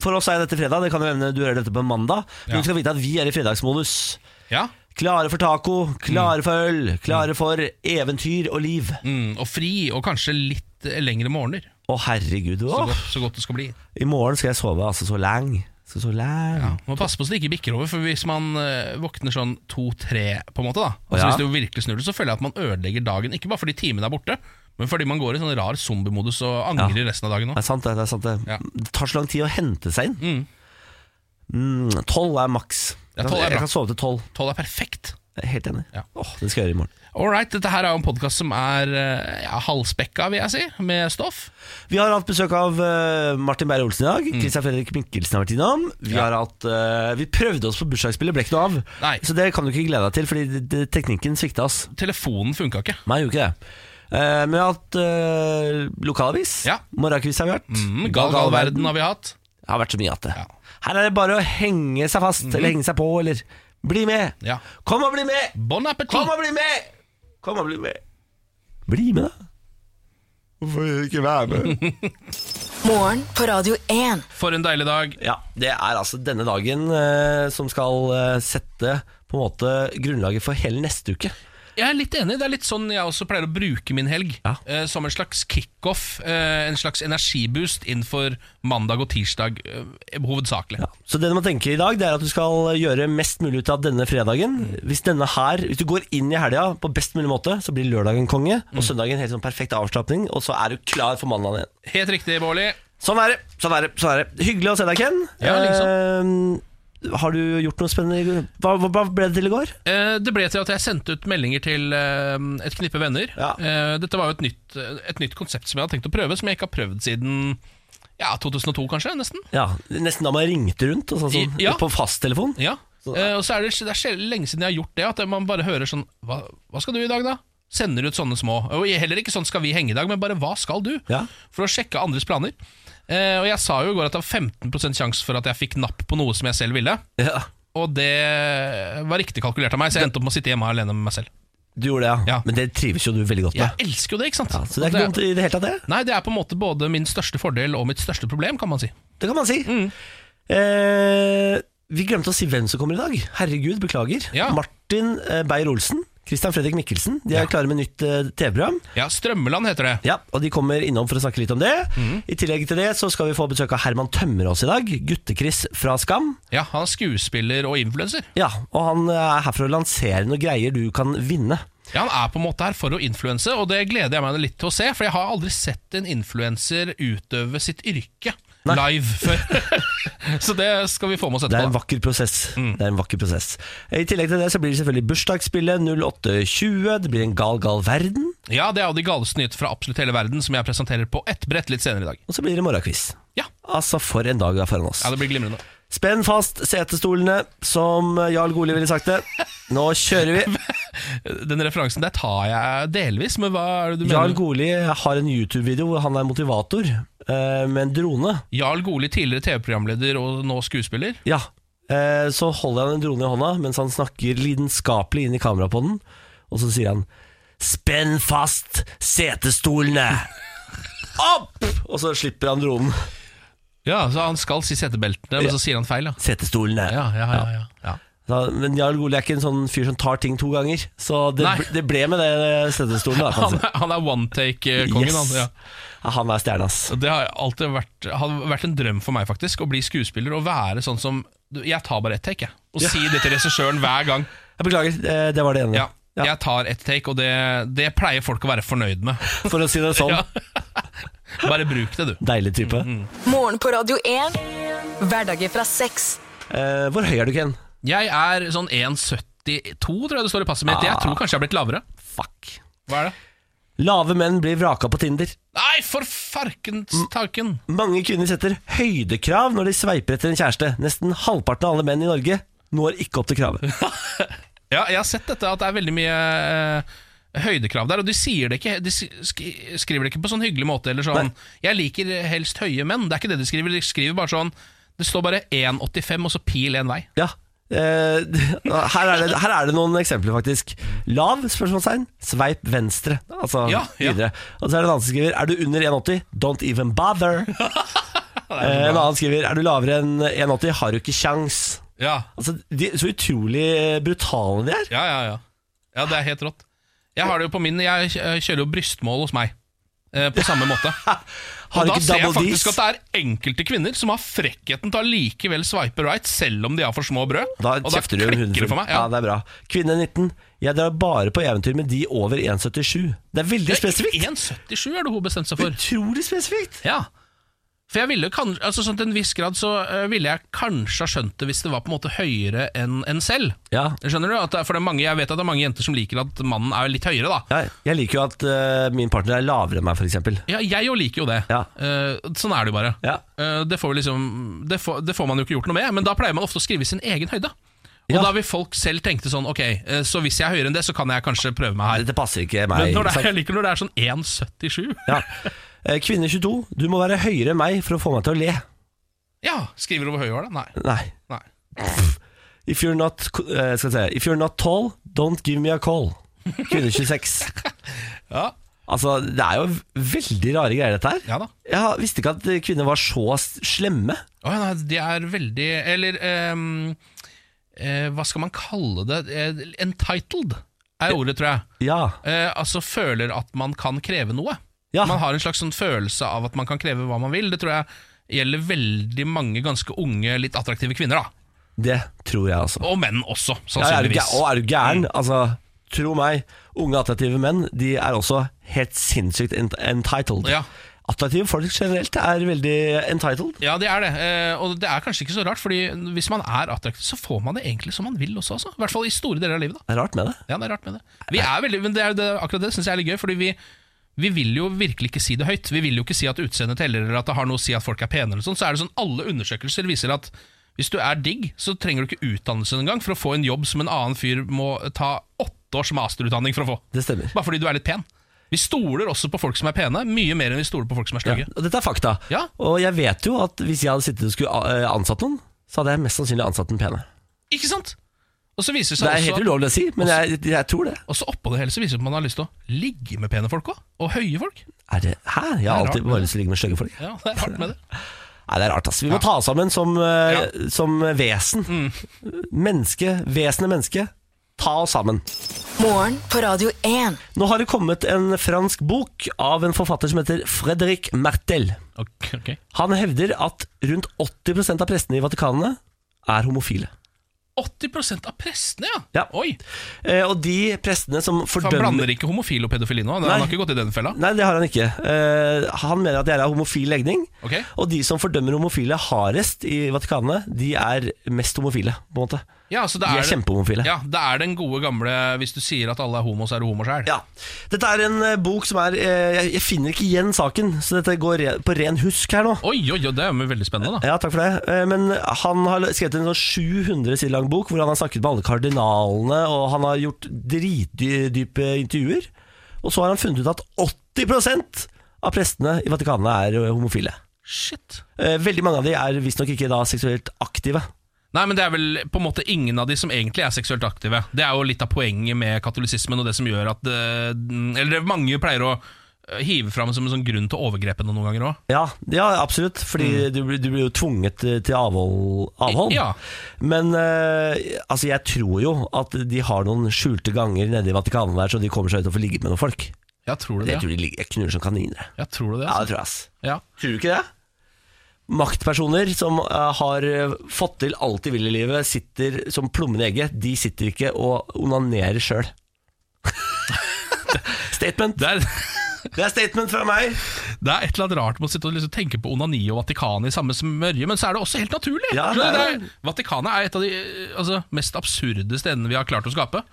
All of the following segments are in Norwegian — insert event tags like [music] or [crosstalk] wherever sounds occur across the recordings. For oss er dette fredag. Det kan jo hende du hører dette på mandag. Men Ja. du skal vite at vi er i fredagsmodus. Ja. Klare for taco, klare for øl, klare for eventyr og liv. Mm, og fri, og kanskje litt eh, lengre morgener. Å, herregud. Så, Åh. godt, så godt det skal bli. I morgen skal jeg sove altså så lenge. Skal så lenge. Ja. Man må passe på så det ikke bikker over, for hvis man eh, våkner sånn to-tre, på en måte, da Å, altså, ja. Hvis det jo virkelig snur det, så føler jeg at man ødelegger dagen. Ikke bare fordi timen er borte, men fordi man går i sånn rar zombiemodus og angrer resten av dagen Det òg. er sant, det. det, er sant det. Ja. det tar så lang tid å hente seg inn. Mm, Tolv er maks. Ja, 12 er bra. jeg kan sove til tolv. Tolv er perfekt. Jeg er Helt enig. Ja. Åh, det skal jeg gjøre i morgen. Alright, dette her er jo en podkast som er eh, ja, halvspekka, vil jeg si, med stoff. Vi har hatt besøk av eh, Martin Beyer Olsen i dag. Christian Fredrik Mikkelsen har vært innom. Vi, Mm. Ja. har hatt, eh, vi prøvde oss på bursdagsspillet, ble ikke noe av. Nei. Så det kan du ikke glede deg til, fordi det, det, teknikken svikta oss. Telefonen funka ikke. Nei, gjorde ikke det. Eh, men vi har hatt eh, lokalavis. Ja. Morgenquiz har vi hatt. Mm, gal, gal verden har vi hatt. Det har vært så mye at det. Ja. Mm. Her er det bare å henge seg fast, eller henge seg på, eller bli med. Ja. Kom og bli med! Bon Kom appétit! og bli med! Kom og bli med. Bli med, da. Hvorfor vil du ikke være med? Morgen på Radio 1. For en deilig dag. Ja, det er altså denne dagen eh, som skal eh, sette på en måte grunnlaget for hele neste uke. Jeg er litt enig. Det er litt sånn jeg også pleier å bruke min helg. Ja. Eh, som en slags kickoff. Eh, en slags energiboost innenfor mandag og tirsdag, eh, hovedsakelig. Så det du må tenke i dag, det er at du skal eh, gjøre mest mulig ut av denne fredagen. Hvis denne her, hvis du går inn i helga på best mulig måte, så blir lørdagen konge, Mm. og søndagen helt sånn perfekt avslapning, og så er du klar for mandagen igjen. Helt riktig, Bårli. Sånn er det, sånn er det, sånn er det. Hyggelig å se deg, Ken. Ja, Eh, har du gjort noe spennende? i går? Hva, hva- hva ble det til i går? Eh, det ble til at jeg sendte ut meldinger til eh, et knippe venner. Ja. Eh, dette var jo et nytt, eh, et nytt konsept som jeg hadde tenkt å prøve, som jeg ikke har prøvd siden ja, 2002, kanskje. Nesten. Ja, nesten da man ringte rundt og sånn, sånn I- ja. på fasttelefon. Ja. Så- Eh, og så er det, det er sjel- lenge siden jeg har gjort det, at man bare hører sånn Hva, hva skal du i dag, da? Sender ut sånne små. Og heller ikke sånn skal vi henge i dag, men bare hva skal du? Ja. For å sjekke andres planer. Eh, og jeg sa jo i går at det var 15 sjanse for at jeg fikk napp på noe som jeg selv ville. Ja. Og det var riktig kalkulert av meg, så jeg endte opp med å sitte hjemme alene med meg selv. Du gjorde det, ja. Ja. Men det trives jo du veldig godt med. Jeg elsker jo det, ikke sant? Ja, så det er ikke At dumt i det hele tatt, det. Nei, det er på en måte både min største fordel og mitt største problem, kan man si. Det kan man si. Eh, vi glemte å si hvem som kommer i dag. Herregud, beklager. Ja. Martin eh, Beyer-Olsen, Christian Fredrik Mikkelsen. De er klare med nytt eh, TV-program. Ja, Strømmeland heter det. Ja, Mm. og De kommer innom for å snakke litt om det. I tillegg til det så skal vi få besøk av Herman Tømmerås i dag. Gutte-Chris fra Skam. Ja, Han er skuespiller og influenser. Ja, Og han er her for å lansere noen greier du kan vinne. Ja, Han er på en måte her for å influense, og det gleder jeg meg litt til å se. For jeg har aldri sett en influenser utøve sitt yrke live før. [laughs] Så det skal vi få med oss Det er en etterpå. vakker prosess. Mm. Det er en vakker prosess. I tillegg til det så blir det selvfølgelig bursdagsspillet 08.20. Det blir en gal, gal verden. Ja, Det er jo de galeste nyheter fra absolutt hele verden som jeg presenterer på ett brett litt senere i dag. Og så blir det morgenquiz. Ja, Altså, for en dag vi har foran oss. ja det blir glimrende. Spenn fast setestolene, som Jarl Goli ville sagt det. Nå [laughs] kjører vi. Den referansen der tar jeg delvis, men hva er det du Jarl mener? Goli har en YouTube-video hvor han er motivator eh, med en drone. Jarl Goli, tidligere TV-programleder og nå skuespiller. Ja. Eh, så holder han en drone i hånda mens han snakker lidenskapelig inn i kameraet på den, og så sier han Spenn fast setestolene! Opp! Og så slipper han dronen. Ja, så Han skal si setebeltene, men så sier han feil, ja. Setestolene. Ja, ja, ja, ja, ja. Da, men Jarl Goli er ikke en sånn fyr som tar ting to ganger, så det, Nei. det ble med det setestolen. Da, kan man Han si. er, han er one take-kongen. Yes. han, Ja. Ja, han er stjerna, ass. Det har alltid vært, har vært en drøm for meg faktisk Å bli skuespiller og være sånn som du, Jeg tar bare ett take jeg, Og si det til regissøren hver gang Jeg beklager, eh, det var det ene. [laughs] ja, Ja, Jeg tar ett take, og det, det pleier folk å være fornøyd med For å si det sånn. Ja. [laughs] Mm. Bare bruk det du Deilig type. Morgen på Radio 1. Hverdager fra seks. Eh, hvor høy er du, Ken? Jeg er sånn 1,72 tror jeg det står i passet mitt Jeg tror kanskje jeg har blitt lavere Fuck. Ah. Hva er det? Lave menn blir vraka på Tinder. Nei, for farkens taken! Mange kvinner setter høydekrav når de sveiper etter en kjæreste. Nesten halvparten av alle menn i Norge når ikke opp til kravet. Ja, jeg har sett dette, at det er veldig mye eh, høydekrav der, og de, sier det ikke, de si- skri- skriver det ikke på sånn hyggelig måte, eller sånn, Nei. jeg liker helst høye menn, det er ikke det de skriver, de skriver bare sånn, det står bare 1,85 og så pil en vei. Ja. Eh, [laughs] her, er det, her er det noen eksempler, faktisk. Lav? spørsmålstegn Sveip venstre. Altså Ja, ja. videre. Og så er det en annen som skriver Er du under 1,80? Don't even [laughs] bother. Eh, en annen skriver Er du lavere enn 1,80? Har du ikke kjangs? Ja, Altså, de, så utrolig brutale de er. ja, ja, ja. Ja, det er helt rått. Jeg har det jo på min, jeg eh, kjører jo brystmål hos meg, eh, på samme måte. [laughs] Har og du da ikke ser jeg double faktisk D's? at det er enkelte kvinner som har frekkheten til å likevel sveipe right, selv om de har for små brød. Da og da kjefter du om klikker hunden det full. for meg. Ja. Ja. det er bra. Kvinne 19. Jeg drar bare på eventyr med de over 1,77. Det er veldig spesifikt. 1,77 er det hun bestemt seg for. Utrolig spesifikt. Ja For jeg ville kan, altså sånn til en viss grad så eh, ville jeg kanskje ha skjønt det hvis det var på en måte høyere enn enn selv. Ja. Skjønner du? At det er, for det er mange, jeg vet at det er mange jenter som liker at mannen er litt høyere, da. Ja, jeg liker jo at eh, min partner er lavere enn meg, f.eks. Ja, jeg jo liker jo det. Ja. Eh, sånn er det jo bare. Ja. Eh, det, får vi liksom, det, får, det får man jo ikke gjort noe med, men da pleier man ofte å skrive sin egen høyde. Og Ja. da vil folk selv tenke sånn Ok, eh, så hvis jeg er høyere enn det, så kan jeg kanskje prøve meg her. Dette passer ikke Men meg. når ikke det er, sant? jeg liker når det er sånn 1,77. Ja. Eh, Kvinne 22. Du må være høyere enn meg for å få meg til å le. [laughs] Ja, skriver du hvor høy var det? Nei. Nei. Nei. If you're not, eh, skal jeg si, if you're not tall, don't give me a call. Kvinne 26. Ja, [laughs] Altså, det er jo veldig rare greier, dette her. ja da. Jeg visste ikke at eh, kvinner var så s- slemme. Å, ja, nei, de er veldig Eller ehm, eh, hva skal man kalle det? Eh, Entitled er ordet, tror jeg. Ja. Eh, altså føler at man kan kreve noe. Ja. Man har en slags sånn følelse av at man kan kreve hva man vil. Det tror jeg gjelder veldig mange ganske unge, litt attraktive kvinner. da Det tror jeg, altså. Og menn også, Ja, er du, sannsynligvis. Mm. gæ- og er du gæren? Altså, tro meg, unge attraktive menn De er også helt sinnssykt ent entitled. Ja. Attraktive folk generelt er veldig entitled. Ja, det er det. Eh, og det er kanskje ikke så rart, Fordi hvis man er attraktiv, så får man det egentlig som man vil også. Altså. I hvert fall i store deler av livet. da Det er rart med det. Ja, det er rart med det. Vi er veldig, men det er, jo det, akkurat det syns jeg er litt gøy, fordi vi, vi vil jo virkelig ikke si det høyt. Vi vil jo ikke si at utseendet teller, eller at det har noe å si at folk er pene. eller sånn, Så er det sånn, Alle undersøkelser viser at hvis du er digg, så trenger du ikke utdannelse engang for å få en jobb som en annen fyr må ta åtte års masterutdanning for å få. Det stemmer. Bare fordi du er litt pen. Vi stoler også på folk som er pene, mye mer enn vi stoler på folk som er stygge. Og dette er fakta. Ja. Og jeg vet jo at hvis jeg hadde sittet og skulle a- eh, ansatt noen, så hadde jeg mest sannsynlig ansatt den pene. Ikke sant? Og så viser det Det seg er helt også, ulovlig å si, men jeg, jeg tror det. også oppå det hele så viser det seg at man har lyst til å ligge med pene folk òg. Og høye folk. Er det hæ? Jeg har Det er alltid rart med bare det. lyst til å ligge med stygge folk. Ja, det er rart [laughs] med det. Nei, det er rart, ass. Vi må ta oss sammen som, eh, Ja. Mm. som vesen. Menneske, vesenet menneske. Ta oss sammen. Morgen på Radio 1. Nå har det kommet en fransk bok av en forfatter som heter Fredrik Mertel. Ok, ok. Han hevder at rundt 80 av prestene i Vatikanene er homofile. 80 av prestene, ja! Ja. Oi, Eh, og de prestene som for Han fordømmer blander ikke homofil og pedofili nå? Nei. Han har ikke gått i den fella? Nei, det har han ikke. Eh, han mener at de er av homofil legning. Ok. Og de som fordømmer homofile hardest i Vatikanet, de er mest homofile, på en måte. Ja, så det De er, er kjempehomofile. Ja, Det er den gode gamle 'hvis du sier at alle er homo, så er du homo sjæl'. Ja. Dette er en eh, bok som er eh, Jeg jeg finner ikke igjen saken, så dette går re på ren husk her nå. Oi, oi, oi, det er jo veldig spennende, da. Ja, takk for det. Eh, Men han har skrevet en sånn 700 sider lang bok hvor han har snakket med alle kardinalene, og han har gjort dritdype intervjuer. Og så har han funnet ut at 80 av prestene i Vatikanet er eh, homofile. Shit. Eh, Veldig mange av de er visstnok ikke da seksuelt aktive. Nei, men det er vel på en måte ingen av de som egentlig er seksuelt aktive. Det er jo litt av poenget med katolisismen og det som gjør at eh, Eller det mange pleier å eh, hive fram som en sånn grunn til overgrepene noen ganger òg. Ja, ja absolutt. Fordi du, blir- du blir jo tvunget eh, til avhold. avhold. Mm. Ja. Men eh, altså, jeg tror jo at de har noen skjulte ganger nede i Vatikanet der, så de kommer seg ut og får ligget med noen folk. Ja, tror du det? Jeg tror de ligger, jeg knuller som kaniner. Ja, tror du det? Ja, Altså? det tror jeg, ass. Ja. Tror du ikke det? Maktpersoner som eh, har eh, fått til alt de vil i livet, sitter som plommen i egget. De sitter ikke og onanerer sjøl. [laughs] statement. Det er, [laughs] Det er statement fra meg. Det er et eller annet rart med å sitte og liksom tenke på onani og Vatikanet i samme smørje, men så er det også helt naturlig. Ja, Skjønner du? det er Det er- Vatikanet er et av de eh, altså, mest absurde stedene vi har klart å skape.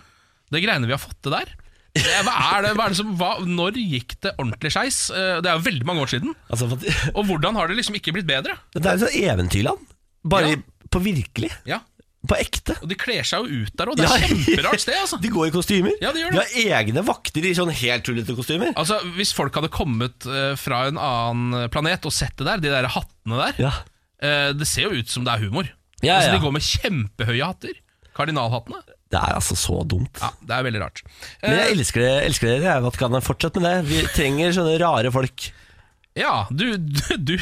Det greiene vi har fått til der. Det- Hva er det, hva er det som, hva, når gikk det ordentlig skeis? Eh, Det er jo veldig mange år siden. Altså, for- [laughs] Og hvordan har det liksom ikke blitt bedre? Dette er jo sånn eventyrland. Bare Ja. på virkelig. Ja, På ekte. Og de kler seg jo ut der òg. Det er Ja. kjemperart sted, altså. [laughs] De går i kostymer. Ja, de gjør de har egne vakter i sånn helt tullete kostymer. Altså, Hvis folk hadde kommet eh, fra en annen planet og sett det der, de der hattene der Ja. eh, Det ser jo ut som det er humor. Ja, altså, ja. De går med kjempehøye hatter. Kardinalhattene. Det er altså så dumt. Ja, Det er veldig rart. Eh, Men jeg elsker det, elsker det. Jeg vet ikke om jeg fortsetter med det. Vi trenger sånne rare folk. Ja, du Du, du,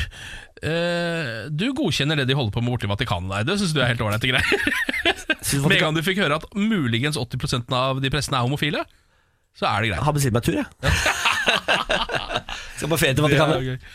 eh, du godkjenner det de holder på med borti Vatikanet der. Det syns du er helt ålreite greier. Synes [laughs] Med en Vatikan- gang du fikk høre at muligens 80 av de prestene er homofile, så er det greit. Jeg har bestilt meg tur, jeg. [laughs] Skal på ferie til Vatikanet. Det er gøy.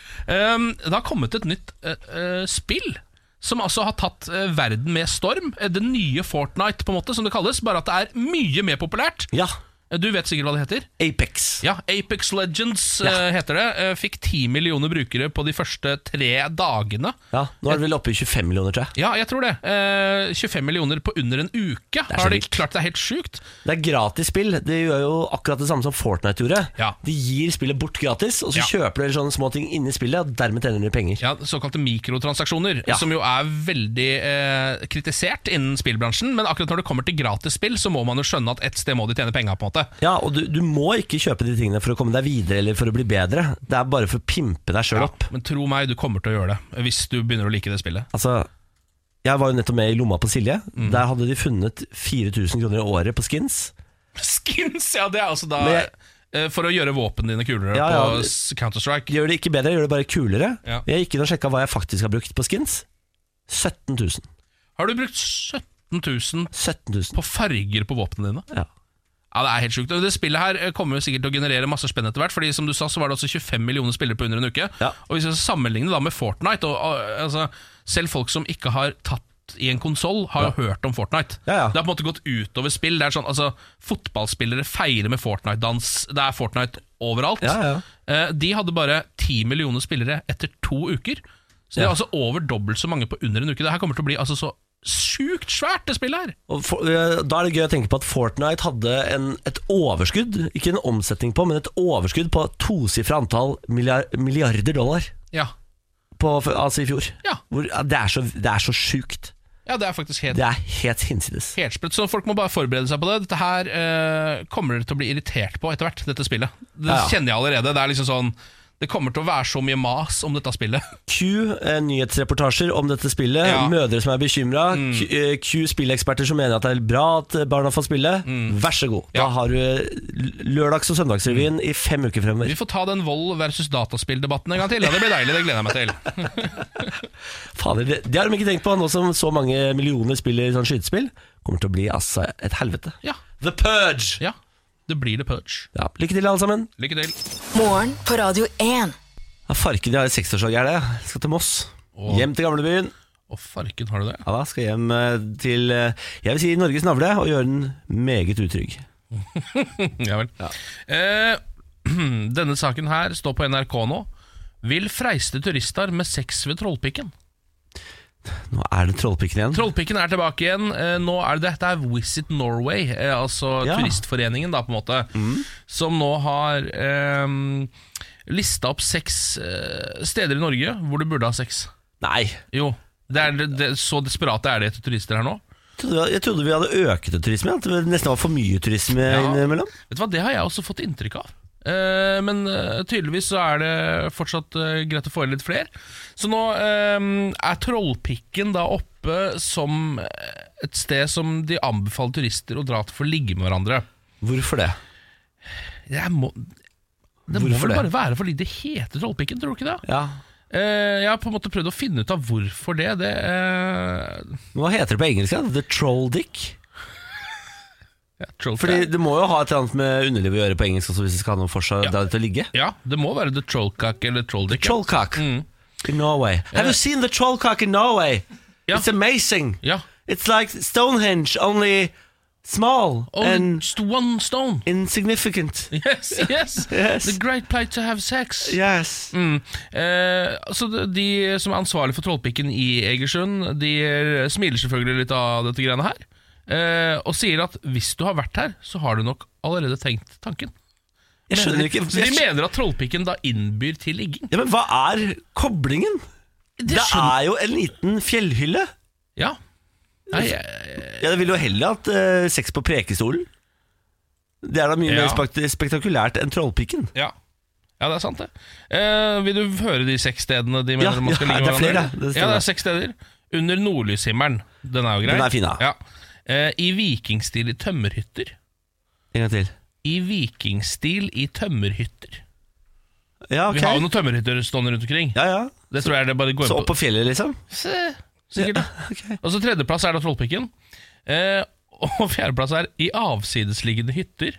Um, det har kommet et nytt eh, eh, spill som altså har tatt eh, verden med storm. Eh, Det nye Fortnite, på en måte, som det kalles, bare at det er mye mer populært. Ja. Eh, Du vet sikkert hva det heter. Apex. Ja, Apex Legends eh, heter det. Eh, fikk 10 millioner brukere på de første tre dagene. Ja, nå er det vel oppe i 25 millioner, tror jeg. Ja, jeg tror det. Eh, 25 millioner på under en uke. så Har de vilt. klart det helt sjukt? Det er gratis spill. Det gjør jo akkurat det samme som Fortnite gjorde. Ja. De gir spillet bort gratis, og så Ja. kjøper dere sånne små ting inni spillet, og dermed tjener dere penger. Ja, Såkalte mikrotransaksjoner, Ja. som jo er veldig eh, kritisert innen spillbransjen. Men akkurat når det kommer til gratisspill, så må man jo skjønne at ett sted må de tjene penga. på en måte. Ja, og du, du må ikke kjøpe de tingene for å komme deg videre eller for å bli bedre. Det er bare for å pimpe deg sjøl opp. Men tro meg, du kommer til å gjøre det hvis du begynner å like det spillet. [laughs] Altså, jeg var jo nettopp med i lomma på Silje. Mm. Der hadde de funnet 4000 kroner i året på skins. Skins, ja! Det er altså da Men jeg- eh, For å gjøre våpnene dine kulere Ja, ja. på s- Counter-Strike. Gjør det ikke bedre, gjør det bare kulere. Ja. Jeg gikk inn og sjekka hva jeg faktisk har brukt på skins. 17 000. Har du brukt 17 000 17 000. på farger på våpnene dine? Ja. Ja, Det er helt sjukt. Og Det spillet her eh, kommer jo sikkert til å generere masse spenn etter hvert. Fordi som du sa, så var det også 25 millioner spillere på under en uke. Ja. Og hvis vi skal sammenligne da med Fortnite og, og, altså, Selv folk som ikke har tatt i en konsoll, har jo hørt om Fortnite. Ja, ja. Det har på en måte gått utover spill. Det er sånn, altså, Fotballspillere feirer med Fortnite-dans. Det er Fortnite overalt. Ja, ja. Eh, De hadde bare 10 millioner spillere etter to uker. Så det er Ja. altså over dobbelt så mange på under en uke. Det her kommer til å bli altså, så sjukt svært, det spillet her. Og for, eh, da er det gøy å tenke på at Fortnite hadde en, et overskudd, ikke en omsetning på, men et overskudd på tosifra antall milliard, milliarder dollar Ja, på, altså i fjor. Ja. Hvor, ja, det, er så, det er så sjukt. ja det er faktisk helt Det er helt hinsides. Helt sprøtt, så folk må bare forberede seg på det. Dette her eh, kommer dere til å bli irritert på etter hvert, dette spillet. Det Ja, ja. kjenner jeg allerede. Det er liksom sånn Det kommer til å være så mye mas om dette spillet. [laughs] Q, eh, nyhetsreportasjer om dette spillet. Ja. Mm. Mødre som er bekymra. Q, eh, Q, spilleksperter som mener at det er bra at barna får spille. Vær så god. Da Mm. Ja. Mm. har du l- lørdags- og søndagsrevyen i fem uker fremover. Vi får ta den vold versus dataspill-debatten en gang til. Ja, det blir deilig, det gleder jeg meg til. [laughs] Fader, det, det har de ikke tenkt på, nå som så mange millioner spiller sånn skytespill. Kommer til å bli altså et helvete. Ja, The Purge! ja. Det blir The Purge. Ja, lykke til, alle sammen. Lykke til. Morgen på Radio 1. Ja, Farken, jeg har seksårsdag, jeg er det. Jeg skal til Moss. Hjem til gamlebyen. Å, farken, har du det? Ja da, skal hjem eh, til eh, Jeg vil si Norges navle, og gjøre den meget utrygg. Ja vel. Eh, [clears throat] denne saken her står på NRK nå. Vil freiste turister med sex ved Trollpikken. Nå er det Trollpikken igjen. Trollpikken er tilbake igjen. Eh, Nå er det dette er Visit Norway, eh, altså Ja. turistforeningen, da på en måte, som nå har eh, lista opp seks eh, steder i Norge hvor du burde ha sex. Nei, Jo, det er, det, Så desperate er de etter turister her nå. Jeg trodde- jeg trodde vi hadde øket turisme, at det nesten var for mye turisme innimellom. Vet du hva, Det har jeg også fått inntrykk av. Eh, men eh, tydeligvis så er det fortsatt eh, greit å få inn litt flere. Så nå eh, er Trollpikken da oppe som eh, et sted som de anbefaler turister å dra til for å ligge med hverandre. Hvorfor det? Jeg må, det må Hvorfor vel det? bare være fordi det heter Trollpikken, tror du ikke det? Ja. Eh, jeg har på en måte prøvd å finne ut av hvorfor det. det eh, Hva heter det på engelsk? da? The troll dick? ja, troll- Fordi det må jo ha et eller annet med underlivet å gjøre på engelsk også, hvis det skal ha noe for seg der til å ligge. ja, Mm. det må være The Trollcock eller Trolldick. ja. Trollcock in Norway. Have you seen the trollcock in Norway? Ja. It's amazing. Ja. It's like Stonehenge, only small Oh, and st- one stone. insignificant. Yes, yes. [laughs] Yes. The great place to have sex. Yes. Mm. Eh, så de, de som er ansvarlig for Trollpikken i Egersund, de smiler selvfølgelig litt av dette greiene her. eh, og sier at hvis du har vært her, så har du nok allerede tenkt tanken. Jeg skjønner ikke Så de mener at trollpikken da innbyr til ligging. ja, Men hva er koblingen? Det, skjønner- er jo en liten fjellhylle. Ja. Nei, jeg, Ja, Jeg ville jo heller hatt eh, sex på Prekestolen. Det er da mye Ja. mer spekt spektakulært enn Trollpikken. ja. ja, det er sant, det. Eh, vil du høre de seks stedene de mener Ja, man skal ja, ligge det er med hverandre? flere, det stemmer. ja, det er seks steder. Under nordlyshimmelen. Den er jo grei. Den er fin, da. ja. Eh, I vikingstil i tømmerhytter. En gang til. I vikingstil i tømmerhytter. Ja, ok. Vi har jo noen tømmerhytter stående rundt omkring. Ja, ja. Det tror jeg det bare går Så inn opp på fjellet, liksom? Se, Sikkert. Ja, det. [laughs] ok. Og så tredjeplass er da Trollpikken. Eh, og [laughs] fjerdeplass er i avsidesliggende hytter.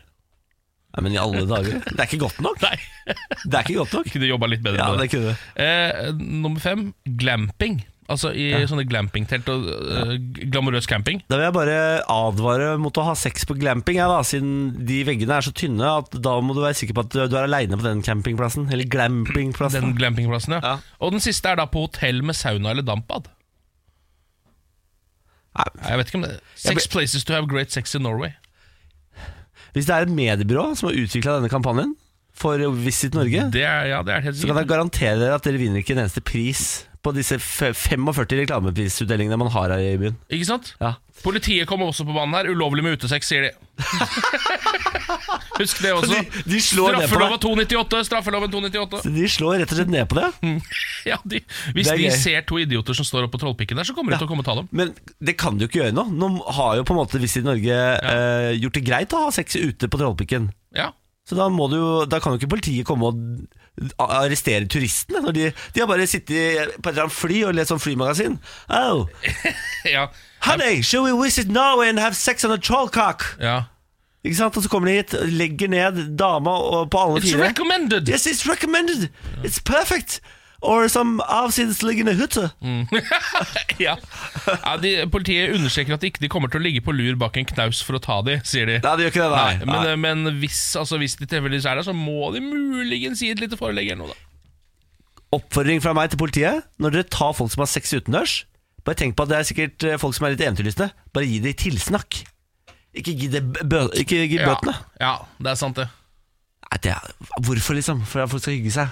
Nei, men i [laughs] alle dager. Det er ikke godt nok. Nei, [laughs] Det er ikke godt nok. kunne jobba litt bedre Ja, med det kunne du. Eh, nummer fem, glamping. Altså i sånne glampingtelt og eh, glamorøs camping. Da vil jeg bare advare mot å ha sex på glamping, jeg, da, siden de veggene er så tynne at da må du være sikker på at du, du er aleine på den campingplassen. Eller Den glampingplassen. glampingplassen, ja. Ja. Og den siste er da på hotell med sauna eller dampbad. Nei, Nei, Jeg vet ikke om det Sex places to have great sex in Norway. Hvis det er et mediebyrå som har utvikla denne kampanjen for Visit Norge, Det er, ja, det er helt så kan sikkert. jeg garantere dere at dere vinner ikke en eneste pris på disse f- 45 reklameprisutdelingene man har her i byen. Ikke sant? Ja. Politiet kommer også på banen her. Ulovlig med utesex, [laughs] sier de. Husk det også. De- de slår ned på Straffeloven 298! Straffeloven 298 De slår rett og slett ned på det. ja, de, Hvis Det er de gøy. ser to idioter som står oppe på trollpikken der, så kommer de til å komme og ta dem. Men det kan du ikke gjøre nå. Nå har jo på en måte Visit Norge eh, gjort det greit å ha sex ute på Trollpikken. Ja, Så da, må du, jo- da kan jo ikke politiet komme og a- arrestere turistene. Når de, de har bare sittet på et eller annet fly og lest sånn flymagasin. Oh, ja, honey, shall we visit Norway and have sex on a trollcock? ja. Ikke sant? Og så kommer de hit, legger ned dama og på alle It's fire. recommended! Yes, it's recommended! It's perfect! Or som avsidesliggende hytte. [laughs] Mm. ja. Ja, de, politiet understreker at de ikke de kommer til å ligge på lur bak en knaus for å ta de, sier de. Nei, det gjør ikke det, nei. eh, Nei, men, men hvis, altså, hvis de tilfeldigvis er der, så må de muligens gi et lite forelegg eller noe, da. Oppfordring fra meg til politiet. Når dere tar folk som har sex utendørs, bare tenk på at det er sikkert eh, folk som er litt eventyrlystne. Bare gi dem tilsnakk. Ikke gi, det b- bø ikke gi bøtene. Ja, ja, det er sant, det. Nei, det er, hvorfor, liksom? For at folk skal hygge seg.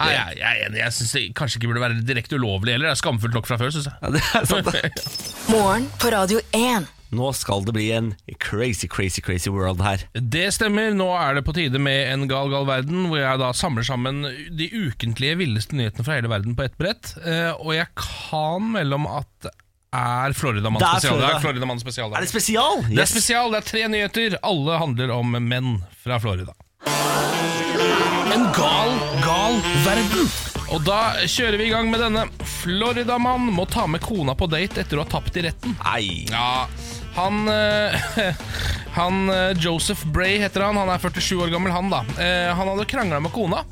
Nei, jeg, jeg er enig. Jeg syns det kanskje ikke burde være direkte ulovlig heller. Det er skamfullt nok fra før, syns jeg. Ja, det er sant, det. [laughs] Morgen på Radio 1. Nå skal det bli en crazy, crazy, crazy world her. Det stemmer. Nå er det på tide med En gal, gal verden, hvor jeg da samler sammen de ukentlige villeste nyhetene fra hele verden på ett brett. Eh, og jeg kan melde om at det er Floridamann Det er spesial. Det Florida. er Floridamann spesial. der. Er det spesial? Det er Yes. spesial, det er tre nyheter. Alle handler om menn fra Florida. En gal, gal verden. Og da kjører vi i gang med denne. Floridamann må ta med kona på date etter å ha tapt i retten. Nei. Ja, han eh, [laughs] Han eh, Joseph Bray heter han. Han er 47 år gammel, han, da. Eh, han hadde krangla med kona.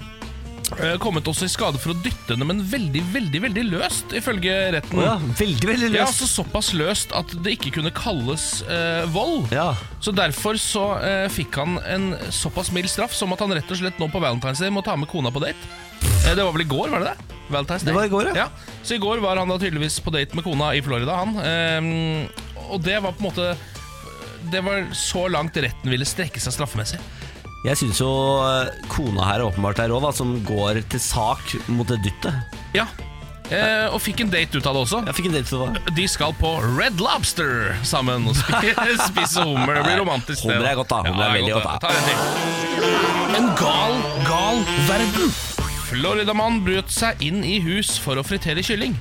Eh, Kommet også i skade for å dytte henne, men veldig, veldig veldig løst, ifølge retten. Å ja, veldig, veldig Ja, løst. altså Såpass løst at det ikke kunne kalles eh, vold. Ja. Så Derfor så eh, fikk han en såpass mild straff som at han rett og slett nå på Valentine's Day må ta med kona på date. Eh, det var vel i går, var det det? Valentine's Day. Det var i går, ja. Så i går var han da tydeligvis på date med kona i Florida, han. Ehm, og det var på en måte Det var så langt retten ville strekke seg straffemessig. Jeg syns jo eh, kona her åpenbart er rå, da, som går til sak mot det dyttet. Ja. Eh, og fikk en date ut av det også. Jeg fikk en del til det. De skal på Red Lobster sammen og spi- [laughs] spise hummer. Det blir romantisk. det, Hummer er godt, da. Hummer er det veldig godt, da. Ta en til. En gal, gal verden. Floridamann brøt seg inn i hus for å fritere kylling.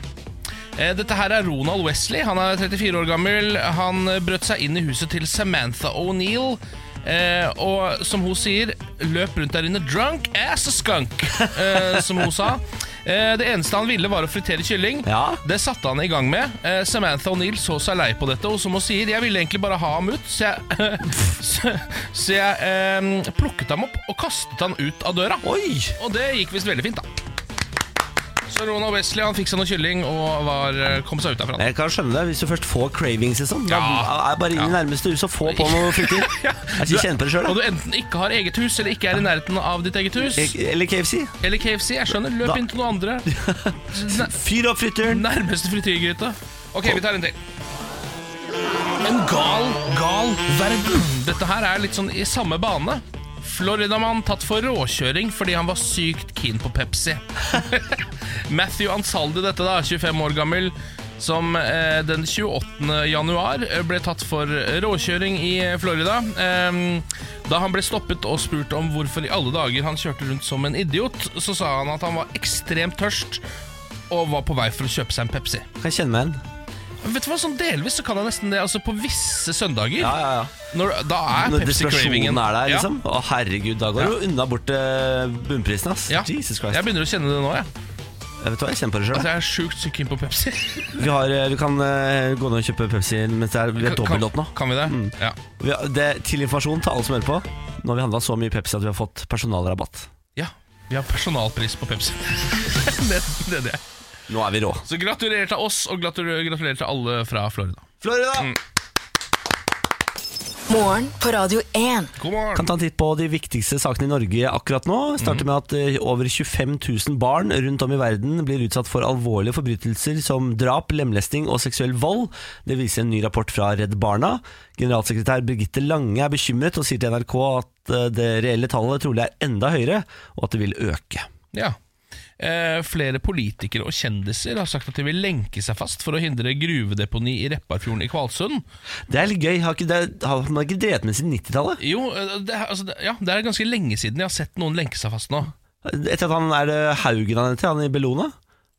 Eh, Dette her er Ronald Wesley. Han er 34 år gammel. Han eh, brøt seg inn i huset til Samantha O'Neill. Eh, og som hun sier, løp rundt der inne drunk as a skunk, eh, som hun sa. Eh, det eneste han ville, var å fritere kylling. Ja. Det satte han i gang med. Eh, Samantha O'Neill så seg lei på dette, og som hun sier, jeg ville egentlig bare ha ham ut, så jeg, [laughs] så, så jeg eh, plukket ham opp og kastet han ut av døra. Oi! Og det gikk visst veldig fint, da. Så Ronald Wesley han fikk seg noe kylling og var, eh, kom seg ut derfra. Jeg kan skjønne det hvis du først får cravings. Liksom. Da Ja. er bare inn i nærmeste hus og få på [laughs] noe frukter. Jeg ikke kjenner på det Og sjøl, du enten ikke har eget hus, eller ikke er i nærheten av ditt eget hus. Eh, Eller KFC. Eller KFC. Jeg skjønner. Løp Da- inn til noen andre. Nær- Fyr opp fritteren. Nærmeste frityrgryte. Ok, vi tar en til. En gal, gal verden. Dette her er litt sånn i samme bane. Floridamann tatt for råkjøring fordi han var sykt keen på Pepsi. [laughs] Matthew Ansaldi, dette da, 25 år gammel, som eh, den 28. januar eh, ble tatt for råkjøring i Florida. Ehm, da han ble stoppet og spurt om hvorfor i alle dager han kjørte rundt som en idiot, så sa han at han var ekstremt tørst og var på vei for å kjøpe seg en Pepsi. Kan jeg kjenne meg igjen? Vet du hva, sånn Delvis så kan jeg nesten det. Altså På visse søndager Ja, ja, ja. når, Da er Når Pepsi-cravingen desperasjonen er der, liksom. Å, herregud, da går Ja. du unna bort til bunnprisen, ass. Ja. Jesus Christ. Ja. Jeg Altså, begynner å kjenne det nå. Jeg, Jeg vet hva, jeg kjenner på det at sjøl. jeg er sjukt syk inn på Pepsi. Vi, har, eh, vi kan eh, gå ned og kjøpe Pepsi mens det er, vi er dobbeltlåt nå. Mm. Kan vi det? Ja. Vi har, det, til informasjon til alle som hører på. Nå har vi handla så mye Pepsi at vi har fått personalrabatt. ja. Vi har personalpris på Pepsi. [laughs] det, det er det. Nå er vi rå. Så gratulerer til oss, og gratulerer, gratulerer til alle fra Florida. Florida! Morgen på Radio 1. God morgen! Kan ta en titt på de viktigste sakene i Norge akkurat nå. Starter med at eh, over 25 000 barn rundt om i verden blir utsatt for alvorlige forbrytelser som drap, lemlesting og seksuell vold. Det viser en ny rapport fra Redd Barna. Generalsekretær Birgitte Lange er bekymret og sier til NRK at eh, det reelle tallet trolig er enda høyere, og at det vil øke. Ja. Eh, flere politikere og kjendiser har sagt at de vil lenke seg fast for å hindre gruvedeponi i Repparfjorden i Kvalsund. Det er litt gøy. Har, ikke, det, har man ikke drevet med siden 90-tallet? Jo, eh, det, er- altså, det, ja, det er ganske lenge siden jeg har sett noen lenke seg fast nå. Etter at han er det Haugen han heter, han i Bellona?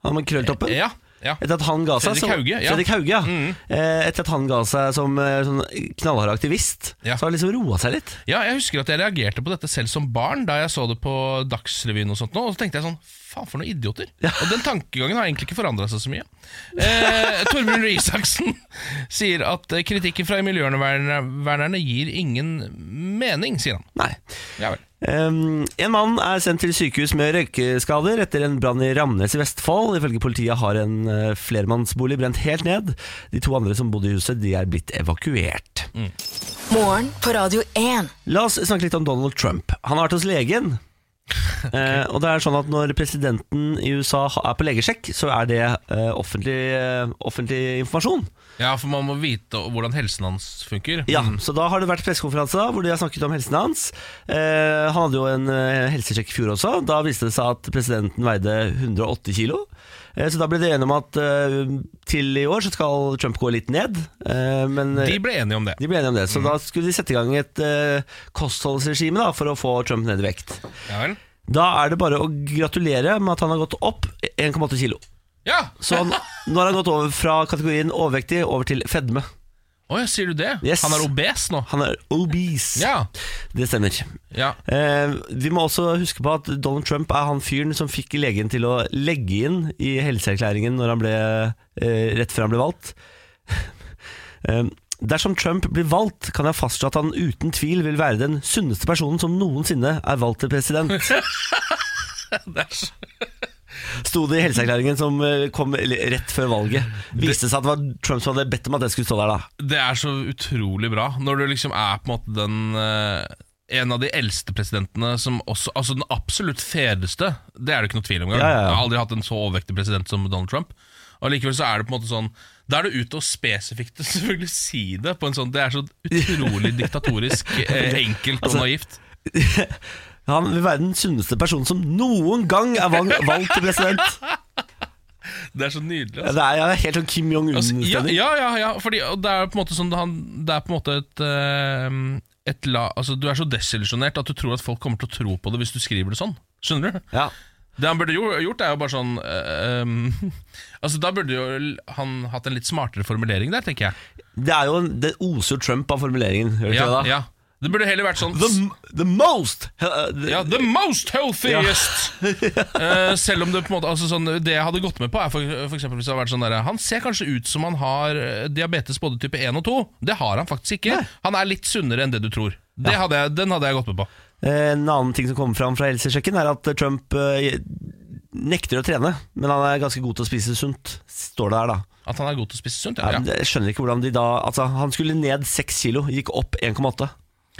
Han med krølltoppen? Ja, ja. Etter at han ga seg Fredrik så- Hauge, ja. Mm. Fredrik Hauge, ja. Eh, Etter at han ga seg som eh, sånn knallhard aktivist, Ja. så har han liksom roa seg litt. Ja, jeg husker at jeg reagerte på dette selv som barn da jeg så det på Dagsrevyen og sånt nå, og så tenkte jeg sånn, faen for noen idioter. Og den tankegangen har egentlig ikke forandret seg så mye. Eh, Torbjørn Røe Isaksen sier at eh, kritikken fra miljøvernerne gir ingen mening, sier han. Nei. Ja vel. Em, en mann er sendt til sykehus med røykeskader etter en brann i Ramnes i Vestfold. Ifølge politiet har en eh, flermannsbolig brent helt ned. De to andre som bodde i huset, de er blitt evakuert. Morgen på Radio 1. La oss snakke litt om Donald Trump. Han har vært hos legen. Eh, og det er sånn at Når presidenten i USA ha- er på legesjekk, så er det eh, offentlig, eh, offentlig informasjon. Ja, for man må vite hvordan helsen hans funker. Ja, Mm. Så da har det vært pressekonferanse da, hvor de har snakket om helsen hans. Eh, han hadde jo en eh, helsesjekk i fjor også. Da viste det seg at presidenten veide 180 kilo. Eh, så da ble det enige om at eh, til i år så skal Trump gå litt ned. Eh, men De ble enige om det. de ble enige om det, så da skulle de sette i gang et eh, kostholdsregime da, for å få Trump ned i vekt. Ja vel. Da er det bare å gratulere med at han har gått opp 1,8 kilo. Ja! Så [laughs] han, nå har han gått over fra kategorien overvektig over til fedme. Åja, sier du det? Yes. Han er obes nå. Han er obese. Ja, Det stemmer. ja. Eh, vi må også huske på at Donald Trump er han fyren som fikk legen til å legge inn i helseerklæringen når han ble, eh, rett før han ble valgt. [laughs] eh, dersom Trump blir valgt, kan jeg fastslå at han uten tvil vil være den sunneste personen som noensinne er valgt til [laughs] president. Det er så- sto det i helseerklæringen som eh, kom rett før valget. Viste seg at det var Trump som hadde bedt om at det skulle stå der, da. Det er så utrolig bra Når du liksom er på en måte den eh, En av de eldste presidentene som også, Altså den absolutt fedeste Det er det ikke noe tvil om engang. Ja, ja, ja. Jeg har aldri hatt en så overvektig president som Donald Trump Og likevel så er det på en måte sånn Da er det ut og spesifikt [laughs] Selvfølgelig si det på en sånn Det er så utrolig [laughs] diktatorisk eh, Enkelt og Altså- naivt Han vil være den sunneste personen som noen gang er valg, valgt til president. Det er så nydelig Ja, altså. Det er, ja, det er helt sånn Kim Altså, ja, Jong-un-stemning. ja, ja, ja fordi, og det er på en måte sånn han, Det er på en måte et, eh, et la, altså, Du er så desillusjonert at du tror at folk kommer til å tro på det hvis du skriver det sånn. Skjønner du? Ja. Det han burde jo- gjort, er jo bare sånn eh, em, [laughs] Altså Da burde jo l- han hatt en litt smartere formulering der, tenker jeg. Det er jo Det oser jo Trump av formuleringen. Gjør det ikke Ja, det, da? ja. Det burde heller vært sånn The, the most uh, the, ja, The most healthiest! [laughs] Eh, selv om det på en måte altså sånn, Det jeg hadde gått med på, er for, for eksempel hvis det hadde vært sånn der, Han ser kanskje ut som han har eh, diabetes både type 1 og 2. Det har han faktisk ikke. Han er litt sunnere enn det du tror. Det hadde jeg, den hadde jeg gått med på. En annen ting som kommer fram fra helsesjekken, er at Trump eh, nekter å trene. Men han er ganske god til å spise sunt, står det her, da. At han er god til å spise sunt. Ja, Ja, men ja. Jeg skjønner ikke hvordan de da Altså, han skulle ned seks kilo, gikk opp 1,8.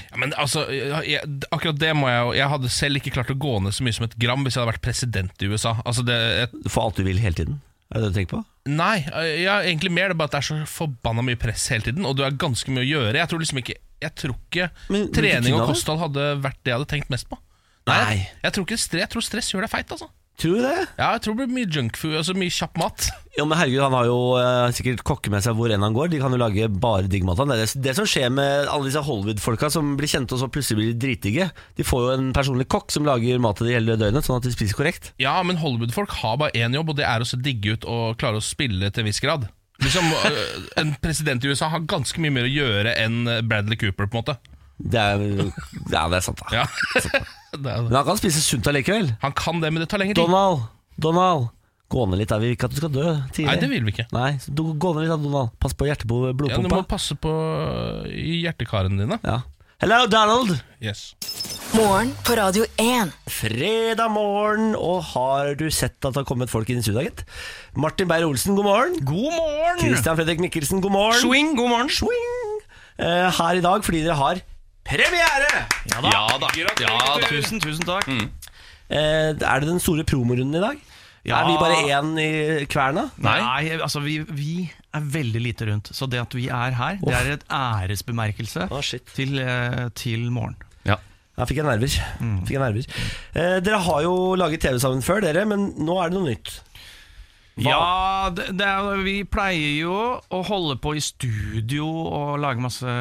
Ja, men altså, jeg, akkurat det må jeg jo Jeg hadde selv ikke klart å gå ned så mye som et gram hvis jeg hadde vært president i USA. Altså det, jeg, Du får alt du vil hele tiden. Er det det du tenker på? Nei, øh, ja, egentlig mer det er bare at det er så forbanna mye press hele tiden, og du har ganske mye å gjøre. Jeg tror liksom ikke Jeg tror ikke Men- men du trening kunne og det? kosthold hadde vært det jeg hadde tenkt mest på. Nei. Jeg, jeg, tror ikke stress, jeg tror stress gjør deg feit, altså. Tror du det? Ja, jeg tror det blir mye junkfood, altså mye kjapp mat. [laughs] Ja, men herregud, Han har jo eh, sikkert kokker med seg hvor enn han går. De kan jo lage bare digg mat. av han. Det, er det, det som skjer med alle disse Hollywood-folka som blir kjente og så plutselig blir de dritdigge. De får jo en personlig kokk som lager mat til de hele døgnet, sånn at de spiser korrekt. Ja, men Hollywood-folk har bare én jobb, og det er å se digge ut og klare å spille til en viss grad. [laughs] Liksom, øh, En president i USA har ganske mye mer å gjøre enn eh, Bradley Cooper, på en måte. Det er, ja, det er sant, da. Ja. [laughs] Det er det. Men han kan spise sunt allikevel. Han kan det, men det tar lenger tid. Donald, Donald, gå ned litt. da. Vi vil ikke at du skal dø tidlig. Nei, det vil vi ikke. Nei, så du, gå ned litt da, Donald. Pass på hjerte på Ja, du må blodpumpa. passe på øh, i hjertekarene dine. Ja. Hello, Donald! Yes. Morgen på Radio 1. Fredag morgen, og har du sett at det har kommet folk inn i studio, gitt? Martin Beyer-Olsen, god morgen. God morgen! Christian Fredrik Mikkelsen, god morgen. Swing, god morgen. Swing. Eh, her i dag fordi dere har premiere! Ja da. Ja, da. Mm. Tusen, tusen takk. Eh, er det den store promorunden i dag? Ja. Er vi bare én i kverna? Nei, altså vi, vi er veldig lite rundt. Så det at vi er her, det er et æresbemerkelse Å, shit. til, eh, til morgen. Ja, fikk jeg nerver. Mm. Fikk jeg nerver. Eh, dere har jo laget TV sammen før, dere, men nå er det noe nytt. Ja, det, det er, vi pleier jo å holde på i studio og lage masse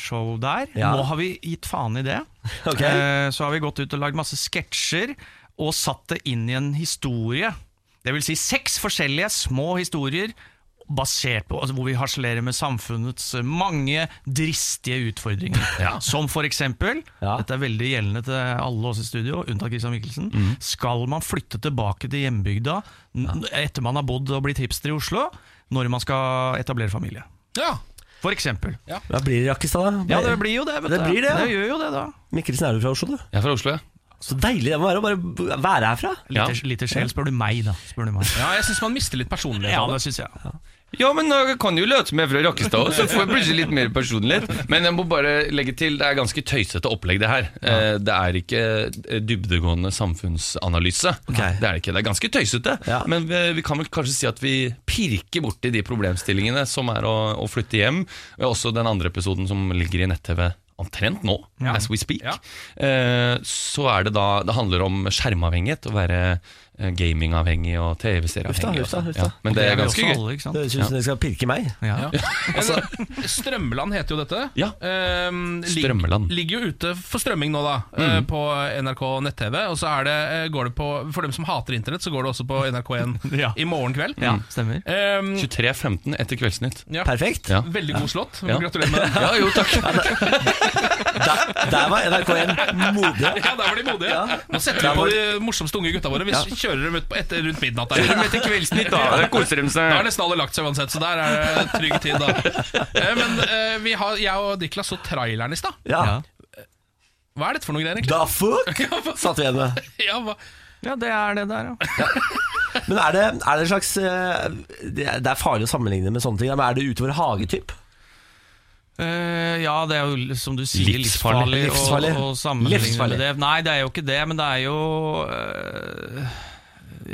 show der. Ja. Nå har vi gitt faen i [laughs] det. Ok. Eh, Så har vi gått ut og lagd masse sketsjer og satt det inn i en historie. Det vil si seks forskjellige små historier basert på altså hvor vi harselerer med samfunnets eh, mange dristige [laughs] utfordringer. Som for eksempel, Ja. dette er veldig gjeldende til alle oss i studio, unntatt Christian Mikkelsen, Mhm. skal man flytte tilbake til hjembygda n- etter man har bodd og blitt hipster i Oslo, når man skal etablere familie? Ja. For eksempel. Hva blir det, Rakkestad? da? Ja, det blir jo det, vet Det du. blir det, ja. det gjør jo det, da. Mikkelsen, er du fra Oslo, du? Jeg er fra Oslo, ja. Så deilig det må være å bare være herfra. Lite, lite sjel, spør du meg, da. [laughs] Spør du meg. Ja, jeg syns man mister litt personlighet. Ja, av det. det syns jeg. Ja, men jeg kan jo late som jeg er fra Rakkestad også, så får jeg plutselig litt mer personlighet. Men jeg må bare legge til, det er ganske tøysete opplegg det her. Eh, Det er ikke eh, dybdegående samfunnsanalyse. Det er det ikke. Det er ganske tøysete. Ja. Men vi, vi kan vel kanskje si at vi pirker borti de problemstillingene som er å, å flytte hjem. Og Også den andre episoden som ligger i nett-TV omtrent nå, Ja. as we speak. Ja. Eh, Så er det da Det handler om skjermavhengighet, å være eh, gamingavhengig og TV-serieavhengig. Hufta, og hufta, sånn. hufta. Ja, men det Det er er vi ganske også gøy. Altså, alle, ikke sant? Det høres ut som dere skal pirke meg. Ja. Men, Strømmeland heter jo dette. Ja. Ehm, lig- Strømmeland. Ligger jo ute for strømming nå, da. eh, På NRK nett-TV. Og så er det, eh, går det på For dem som hater internett, så går det også på NRK1 Ja. i morgen kveld. ja, stemmer. Ehm, 23.15 etter Kveldsnytt. ja. Perfekt. Ja. Veldig god slått. Ja. Gratulerer med det. Ja, jo, takk. Der, der var NRK1 modig. [laughs] Ja, der var de modige. Nå setter Der vi var på de morsomste unge gutta våre. Vi kjører dem ut på etter rundt midnatt. Der. Etter Kveldsnytt, [laughs] da. Koser de Da seg. har nesten alle lagt seg uansett, så der er det trygg tid, da. Eh, Men eh, vi har, jeg og Dikla så traileren i stad. Ja. Ja. Hva er dette for noe greier, egentlig? Da fuck satt vi igjen med. [laughs] Ja, hva? Ja, det er det der, ja. Men er det, er det en slags eh, Det er det er farlig å sammenligne med sånne ting, ja, men er det utover hagetyp? Eh, ja, det er jo som du sier, Livsfarlig. livsfarlig, Livsfarlig. å, å sammenligne Livsfarlig. med det. Nei, det er jo ikke det, men det er jo eh,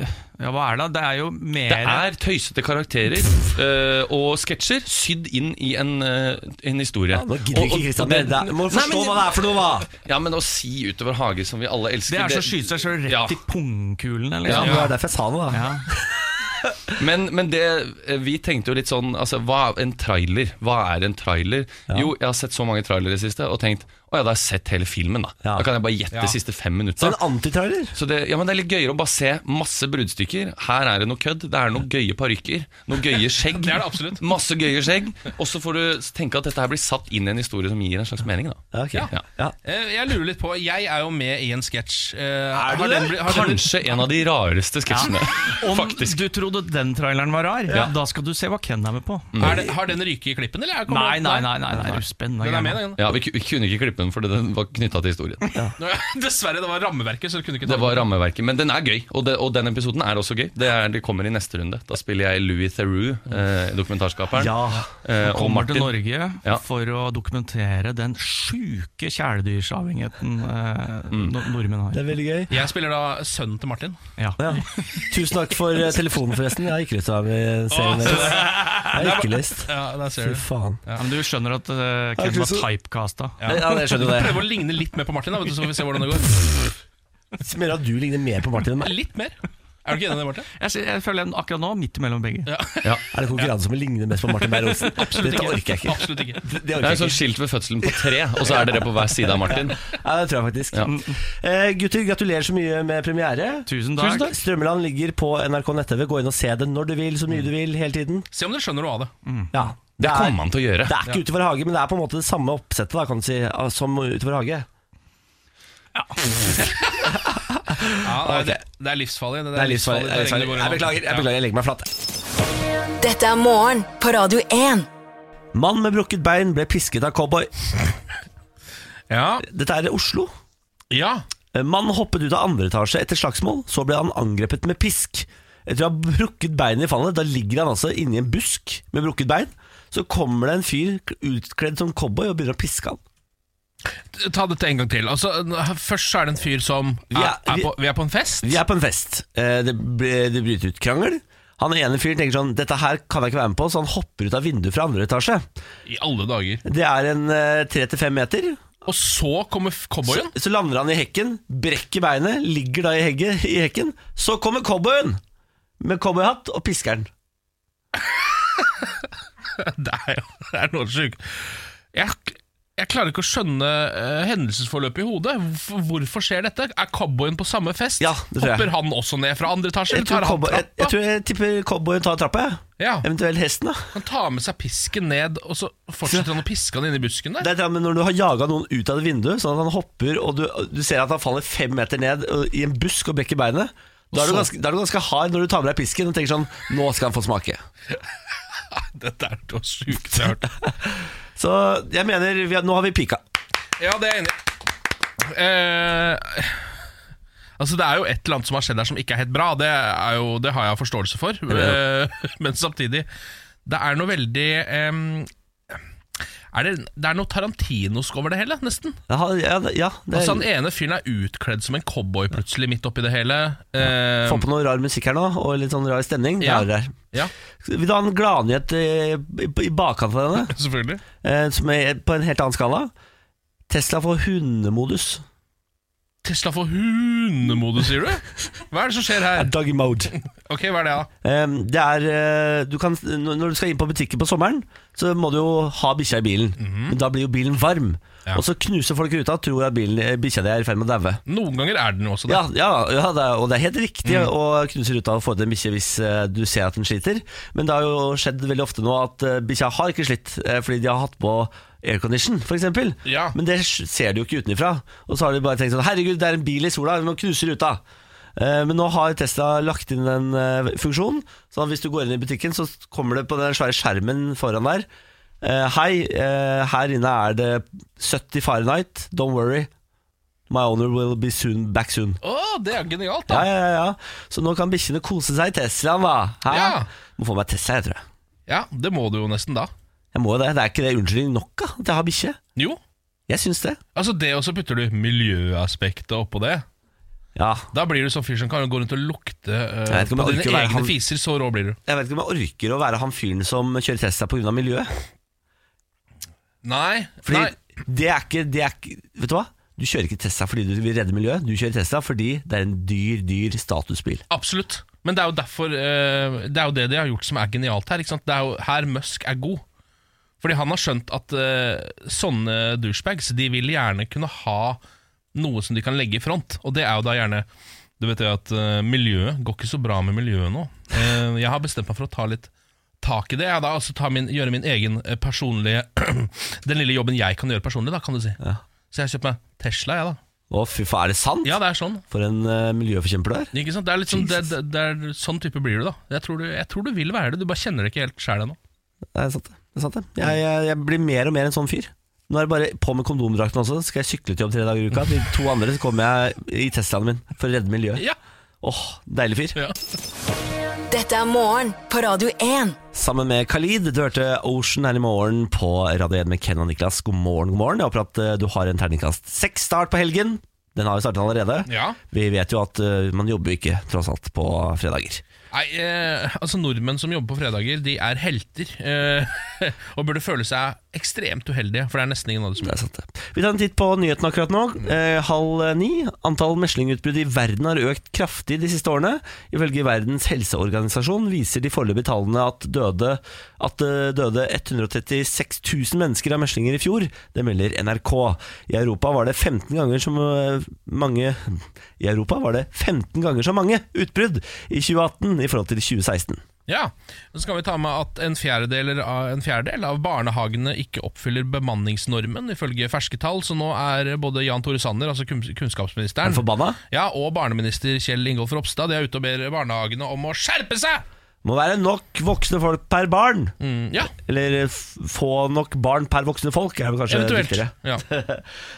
Ja, hva er det? da? Det er jo mer Det er tøysete karakterer eh, og sketsjer sydd inn i en, eh, en historie. Nå gidder Og- og- ikke Kristian det- mer. Det er- Må Nei, forstå men- hva det er for noe, hva! Ja, men å si 'Utover hage', som vi alle elsker Det er så å skyte seg sjøl rett Ja. i pungkulen, eller? Ja, Ja. men Det var derfor jeg sa noe, da. Ja. Men, men det, eh, vi tenkte jo litt sånn altså, Hva er en trailer? Hva er en trailer? Jo, jeg har sett så mange trailere i det siste og tenkt Å ja, da har jeg sett hele filmen, da. Ja. Da kan jeg bare gjette de siste fem Så minutta. Sånn en antitrailer? Så det, ja, men det er litt gøyere å bare se masse bruddstykker. Her er det noe kødd. Det er noen gøye parykker. Noen gøye skjegg. Det er det absolutt. Masse gøye skjegg. Og så får du tenke at dette her blir satt inn i en historie som gir en slags mening. da Ja, ok. Ja. Ja. Eh, Jeg lurer litt på Jeg er jo med i en sketsj. Eh, Er du det? Kanskje en av de rareste sketsjene. [laughs] Om Faktisk. du trodde den traileren var rar, da skal du se hva Ken er med på. Er det, har den ryket i klippen, eller? er- kommer Nei, den- nei, nei. nei, nei, det er jo spennende Den er med, greier. den. Ja, vi, ku- vi kunne ikke klippe den, fordi den var knytta til historien. [laughs] Dessverre, det var rammeverket. Så jeg kunne ikke ta Det var rammeverket, men den er gøy, og, det, og den episoden er også gøy. Det, er, det kommer i neste runde. Da spiller jeg Louis Theroux, eh, dokumentarskaperen. Ja. eh, og Kommer til Martin. Norge Ja. for å dokumentere den sjuke kjæledyrsavhengigheten eh, no nordmenn har. Det er veldig gøy. Jeg spiller da sønnen til Martin. Ja. Ja. Tusen takk for eh, telefonen, forresten. Jeg har ikke lyst til å være med i serien deres. Jeg har ikke lyst. Ja, der ser Fy du. faen. Ja, men du skjønner at eh, Ken var typecasta. Ja, det skjønner jo [laughs] Prøve å ligne litt mer på Martin, da, vet du, så får vi se hvordan det går. det. Mer at du ligner mer på Martin enn meg. Litt mer. Er du ikke enig i det, Martin? Jeg, sy- jeg føler den akkurat nå midt imellom begge. Er [laughs] det konkurranse om å ligne mest på Martin Beyer-Olsen? Dette orker jeg ikke. Absolutt ikke. Det- Det Det orker jeg er et sånt ikke. skilt ved fødselen på tre, og så er dere på hver side av Martin. Ja, det tror jeg faktisk. Ja. Eh, gutter, gratulerer så mye med premiere. Tusen takk. Strømmeland ligger på NRK nett-TV. Gå inn og se det når du vil, så mye du vil, hele tiden. Se om dere skjønner noe av det. Ja, Det er- kommer han til å gjøre. Det er ikke Ute for hage, men det er på en måte det samme oppsettet da, kan du si, av- som Ute for hage. Ja, det, er- det er livsfarlig. Det, Det er livsfarlig. det er Jeg regnet går beklager, jeg gjennom. beklager, jeg beklager, jeg legger meg flat. Dette er morgen på Radio 1. Mann med brukket bein ble pisket av cowboy. Ja. Dette er Oslo. ja. Eh, Mannen hoppet ut av andre etasje etter slagsmål, så ble han angrepet med pisk. Etter å ha brukket beinet i fannet, da ligger han altså inni en busk med brukket bein. Så kommer det en fyr utkledd som cowboy og begynner å piske han. Ta dette en gang til. Altså, n- først så er det en fyr som er, Vi er- er på, Vi er på en fest. Vi er på en fest. Eh, Det, ble- det bryter ut krangel. Han ene fyren tenker sånn Dette her kan jeg ikke være med på, så han hopper ut av vinduet fra andre etasje. I alle dager. Det er en eh, tre til fem meter. Og så kommer f- Så, cowboyen. så lander han i hekken, brekker beinet, ligger da i, hegge, i hekken. Så kommer cowboyen med cowboyhatt og pisker han. [laughs] Det er jo det er noe sjukt. Jeg, jeg klarer ikke å skjønne eh, hendelsesforløpet i hodet. Hvorfor, hvorfor skjer dette? Er cowboyen på samme fest? Ja, det tror jeg. Hopper han også ned fra andre etasje? Jeg eller tror, tar han cowboy, jeg, trappa? jeg tror jeg tipper cowboyen tar trappa, jeg. Ja, Eventuelt hesten, da. Han tar med seg pisken ned, og så [laughs] fortsetter han å piske han inn i [laughs] busken der. Det er det med når du har jaga noen ut av et vindu, sånn at han hopper, og du, du ser at han faller fem meter ned ø, i en busk og brekker beinet. Da er, du så- ganske, da er du ganske hard når du tar med deg pisken og tenker sånn Nå skal han få smake. Dette er noe sjukt jeg har hørt. Så jeg mener vi har, Nå har vi pika. Ja, det er jeg enig i. Eh, altså, det er jo et eller annet som har skjedd her som ikke er helt bra. Det, er jo, det har jeg forståelse for. Eh, [laughs] men samtidig, det er noe veldig ehm, er det, det er noe tarantinosk over det hele, nesten. Ja, ja, ja det er, Altså Han ene fyren er utkledd som en cowboy plutselig, midt oppi det hele. Eh, Få på noe rar musikk her nå, og litt sånn rar stemning. Det Ja. er det her. ja, Vil du ha en gladnyhet eh, i, i bakkant av denne, selvfølgelig. eh, som er på en helt annen skala? Tesla får hundemodus. Tesla får hundemodus, sier du? Hva er det som skjer her? Doggy mode. Ok, hva er det, da? Um, det er, eh, du kan, når når du skal inn på butikken på sommeren, så må du jo ha bikkja i bilen. Men da blir jo bilen varm. Ja. Og så knuser folk ruta og tror at bilen- eh, bikkja di er i ferd med å daue. Noen ganger er den jo også det. Ja, ja, ja det er, og det er helt riktig å knuse ruta og få ut en bikkje hvis eh, du ser at den sliter. Men det har jo skjedd veldig ofte nå at eh, bikkja har ikke slitt eh, fordi de har hatt på aircondition, f.eks. Ja. Men det s- ser du jo ikke utenfra. Og så har de bare tenkt sånn Herregud, det er en bil i sola, vi må knuse ruta. Eh, Men nå har Tesla lagt inn en eh, funksjon, så hvis du går inn i butikken, så kommer det på den svære skjermen foran der. eh, Hei, eh, her inne er det 70 Fahrenheit, don't worry. My owner will be soon, back soon. Å, det er genialt, Ja, da! ja, ja, ja. Så nå kan bikkjene kose seg i Teslaen, da. Hæ? Ja. Må få meg Tesla, jeg tror jeg. Ja, det må du jo nesten da. Jeg må jo det. Det er ikke det unnskyldning nok da, at jeg har bikkje. Jo. Jeg syns det. Altså det, og så putter du miljøaspektet oppå det. Ja. Da blir du sånn fyr som kan gå rundt og lukte eh, Jeg vet ikke om på jeg dine orker å være egne han- fiser. Så rå blir du. Jeg vet ikke om jeg orker å være han fyren som kjører Tesla pga. miljøet. Nei. Fordi nei. det er ikke, det er ikke Vet du hva? Du kjører ikke Tesla fordi du vil redde miljøet. Du kjører Tesla fordi det er en dyr, dyr statusbil. Absolutt. Men det er jo derfor eh, Det er jo det de har gjort som er genialt her. Ikke sant? Det er jo her Musk er god. Fordi han har skjønt at eh, sånne douchebags De vil gjerne kunne ha noe som de kan legge i front. Og det er jo da gjerne Du vet jo at eh, miljøet går ikke så bra med miljøet nå. Eh, jeg har bestemt meg for å ta litt tak i det. Jeg da altså ta min, Gjøre min egen eh, personlige [clears throat] Den lille jobben jeg kan gjøre personlig, da, kan du si. Så jeg har kjøpt meg Tesla, jeg, da. Å, fy faen, er det sant? Ja, det er sånn. For en eh, miljøforkjemper du er. Ikke sant? Det er litt sånn, det, det, det er sånn type blir du, da. Jeg tror du, jeg tror du vil være det, du bare kjenner det ikke helt sjæl ennå. Det er sant, det. det, er sant, det. Jeg, jeg, jeg blir mer og mer en sånn fyr. Nå er det bare på med kondomdrakten også. Skal jeg sykle til jobb tre dager i uka? De to andre så kommer jeg i Teslaen min for å redde miljøet. Ja. Åh, Deilig fyr. Ja. Dette er morgen på Radio 1. Sammen med Khalid. Du hørte Ocean her i morgen på Radio 1 med Ken og Niklas. God morgen, god morgen. Jeg håper at eh, du har en terningkast seks start på helgen. Den har jo startet allerede. Ja. Vi vet jo at eh, man jobber jo ikke, tross alt, på fredager. Nei, eh, altså Nordmenn som jobber på fredager, de er helter. Eh, [laughs] og burde føle seg ekstremt uheldige, for det er nesten ingen av dem som Det er sant, det. Vi tar en titt på nyheten akkurat nå. Eh, halv ni. Antall meslingutbrudd i verden har økt kraftig de siste årene. Ifølge Verdens helseorganisasjon viser de foreløpige tallene at, døde, at det døde 136 000 mennesker av meslinger i fjor. Det melder NRK. I Europa var det 15 ganger så eh, mange I Europa var det 15 ganger så mange utbrudd i 2018 i forhold til 2016. Ja, og Så kan vi ta med at en fjerdedel, av, en fjerdedel av barnehagene ikke oppfyller bemanningsnormen, ifølge ferske tall. Så nå er både Jan Tore Sanner, altså kun- Er kunnskapsministeren, du forbanna? ja, og barneminister Kjell Ingolf Ropstad De er ute og ber barnehagene om å skjerpe seg! Må være nok voksne folk per barn! Mm, ja, Eller eh, f- få nok barn per voksne folk er vel kanskje eventuelt. viktigere. [laughs] Ja.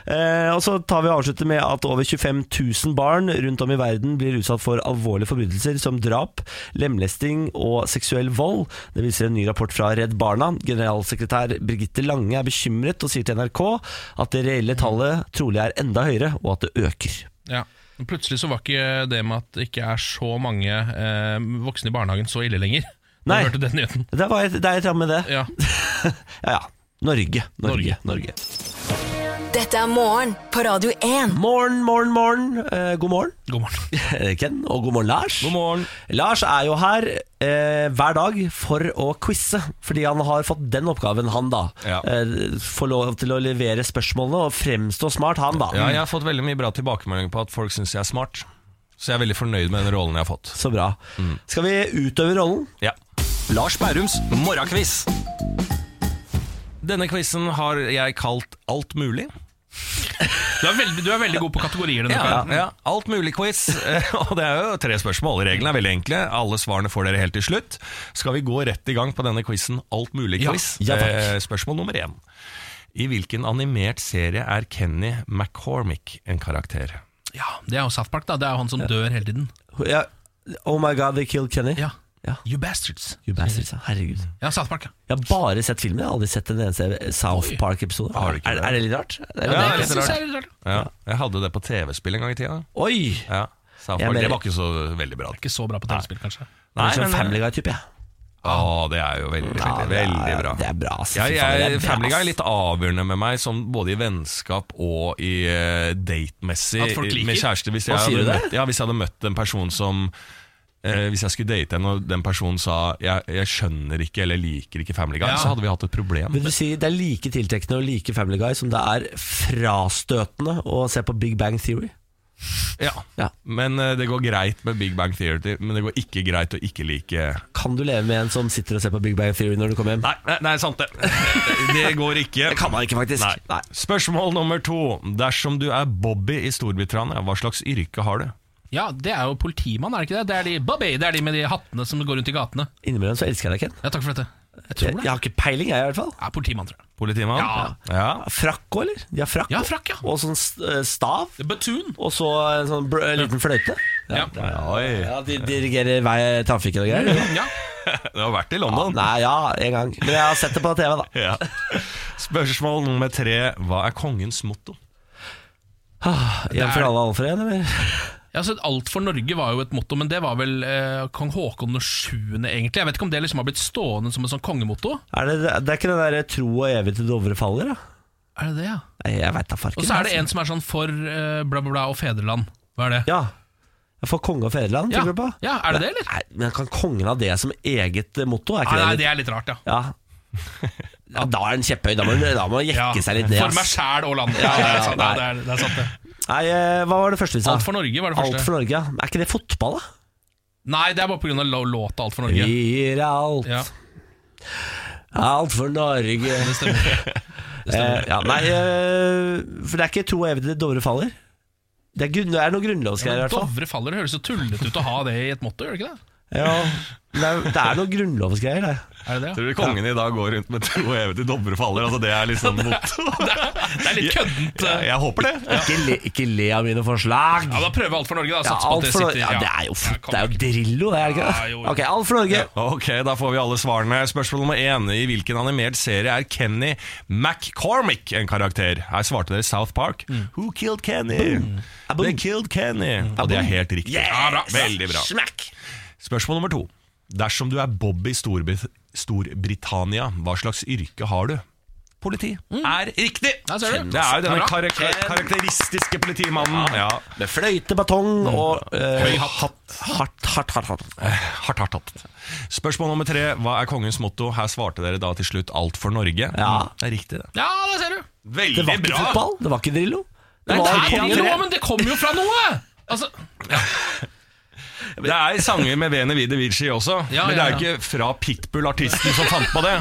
Eh, og så tar vi og avslutter med at over 25 000 barn rundt om i verden blir utsatt for alvorlige forbrytelser som drap, lemlesting og seksuell vold. Det viser en ny rapport fra Redd Barna. Generalsekretær Birgitte Lange er bekymret og sier til NRK at det reelle tallet trolig er enda høyere, og at det øker. ja. Men Plutselig så var ikke det med at det ikke er så mange eh, voksne i barnehagen så ille lenger. Når Nei. Du hørte den nyheten. Det, var, det er et ramme, det. Ja. [laughs] Ja, ja. Norge, Norge, Norge. Dette er morgen på Radio 1. Morgen, morgen, morgen. Eh, god morgen. God morgen. Eh, Ken, og god morgen, Lars. God morgen Lars er jo her eh, hver dag for å quize, fordi han har fått den oppgaven, han da. Ja. Eh, Får lov til å levere spørsmålene og fremstå smart, han da. Ja, jeg har fått veldig mye bra tilbakemeldinger på at folk syns jeg er smart. Så jeg er veldig fornøyd med den rollen jeg har fått. Så bra. Mm. Skal vi utøve rollen? Ja. Lars Bærums morgenkviss. Denne quizen har jeg kalt Alt mulig. Du er veldig, du er veldig god på kategorier. Denne Ja, kvelden. ja. Alt mulig-quiz. [laughs] Og det er jo tre spørsmål. Reglene er veldig enkle. Alle svarene får dere helt til slutt. Skal vi gå rett i gang på denne quizen Alt mulig-quiz? Ja. Ja, takk. spørsmål nummer én. I hvilken animert serie er Kenny McCormick en karakter? ja, Det er jo South Park, da. Det er jo han som dør hele tiden. Ja. Oh my god, they killed Kenny. Ja. Ja. You bastards. You bastards, ja. herregud. Ja, South Park. ja. Jeg har bare sett filmen, jeg har aldri sett en eneste South Park-episode. Har du ikke Er, det? er det litt rart? Det er veldig Ja, det er rart. litt synes rart. jeg er litt rart. Ja, jeg hadde det på TV-spill en gang i tida. Oi! Ja, South Jeg Park. mener- Det var ikke så veldig bra. Ikke så bra på TV-spill, kanskje. Det er sånn men- Family Guy-type, ja. Å, det er jo veldig, Ja, veldig, det er- veldig bra. det er bra, ass. Jeg, Fy faen, det er jeg, bra, Family Guy ass. er litt avgjørende med meg, som både i vennskap og i eh, datemessig. At folk liker? Med kjæreste. Hvis Hva jeg, sier hadde du det? møtt, ja, hvis jeg hadde møtt en person som eh, Hvis jeg skulle date en, og den personen sa jeg, jeg skjønner ikke eller liker ikke Family Guy, Ja. så hadde vi hatt et problem. Vil du si det er like tiltrekkende og like Family Guy som det er frastøtende å se på Big Bang Theory? Ja. Ja. Men eh, det går greit med Big Bang Theory, men det går ikke greit å ikke like Kan du leve med en som sitter og ser på Big Bang Theory når du kommer hjem? Nei, nei, nei sant det. [laughs] Det går ikke. Det kan man ikke, faktisk. Nei. Spørsmål nummer to. Dersom du er Bobby i Storbritannia, hva slags yrke har du? Ja, det er jo politimann, er det ikke det? Det er de, Bobby, det er de med de hattene som går rundt i gatene. Innimellom så elsker jeg deg, Ken. Ja, takk for dette. Jeg Jeg, tror jeg det. har ikke peiling, jeg i hvert fall. Ja, politimann, tror jeg. Politimann? Ja. ja. Frakk òg, eller? De har frakk, Ja, også. frakk, ja. og sånn s- eh, stav. Batoon. Og så en sånn br liten fløyte. Ja. Ja. Oi. Ja, De dirigerer vei trafikken og greier. Du har vært i London. Nei, ja, en gang. Men jeg har sett det på TV, da. Ja. [laughs] Spørsmål nummer tre. Hva er kongens motto? En for alle, alle for en, eller? altså, alt for Norge var jo et motto, men det var vel eh, kong Haakon den 7., egentlig. Jeg vet ikke om det liksom har blitt stående som en sånn kongemotto. Er det, det er ikke det derre 'tro og evig til Dovre faller', da? Er det det, ja? Nei, jeg veit da farken. Og så er det altså. en som er sånn for eh, bla, bla, bla og fedreland. Hva er det? Ja. For konge og fedreland, Ja. tenker du på? Ja, er det det, eller? Nei, men kan kongen ha det som eget eh, motto? Er ikke Nei, nei, det, det er litt rart, ja. litt- [laughs] ja. ja, da er den kjepphøy. Da må den- da må den ja. jekke seg litt ned. For meg ass. sjæl og landet. [laughs] Ja, Ja, ja, ja, det er sant, ja, nei. det er, det er sant, det. Nei, eh, hva var det første vi sa? Alt for Norge var det Alt første. for Norge, ja. Er ikke det fotball, da? Nei, det er bare pga. låta Alt for Vi Norge. gir alt. Ja. Alt for Norge. Det stemmer. [laughs] Eh, ja, nei, eh, for det er ikke tro og evig til Dovre faller. Det er, grunn, det er noe grunnlovsgreier, i hvert fall. Dovre faller, det høres så tullete ut å ha det i et motto, gjør det ikke det? Ja, det er, det er noe grunnlovsgreier der. Er det det? Tror du kongen i dag går rundt med to hevede dobbere faller? Altså det er [laughs] liksom mot Det er litt køddent. jeg, jeg håper det. Ikke le, ikke le av mine forslag! Ja, da prøver jeg alt for Norge, da. Ja, Satser på at alt det for sitter. Norge. Ja, det er jo, Ja, fort- kom det er jo Drillo, det er det ikke Ja, jo, det? jo. Ok, alt for Norge! [laughs] Ok, da får vi alle svarene. Spørsmål nummer én. I hvilken animert serie er Kenny McCormick en karakter? Her svarte dere South Park. Who killed Kenny? Mm. Boom. Mm. They killed Kenny. Og det er helt riktig. Ja, bra. Veldig bra. Smack! Spørsmål nummer to. Dersom du er Bob i Storbrit Storbritannia, hva slags yrke har du? Politi. Mm. Er riktig! Ja, ser du. Det er jo Ja, denne bra. karakter karakteristiske politimannen. Ja. Med fløyte, batong og eh, Høy hatt. hardt, hardt, hardt. hardt. Hardt, hardt, hardt. Spørsmål nummer tre. Hva er kongens motto? Her svarte dere da til slutt alt for Norge. Ja. Det er riktig, det. Ja, der ser du. Veldig Det var ikke fotball, det var ikke Drillo. Det Nei, var det, kongen. er, men det kommer jo fra noe! Altså, Det er sanger med Vene Vide Vici også, Ja, men det er ja, jo ja. ikke fra Pitbull-artisten som fant [laughs] på det.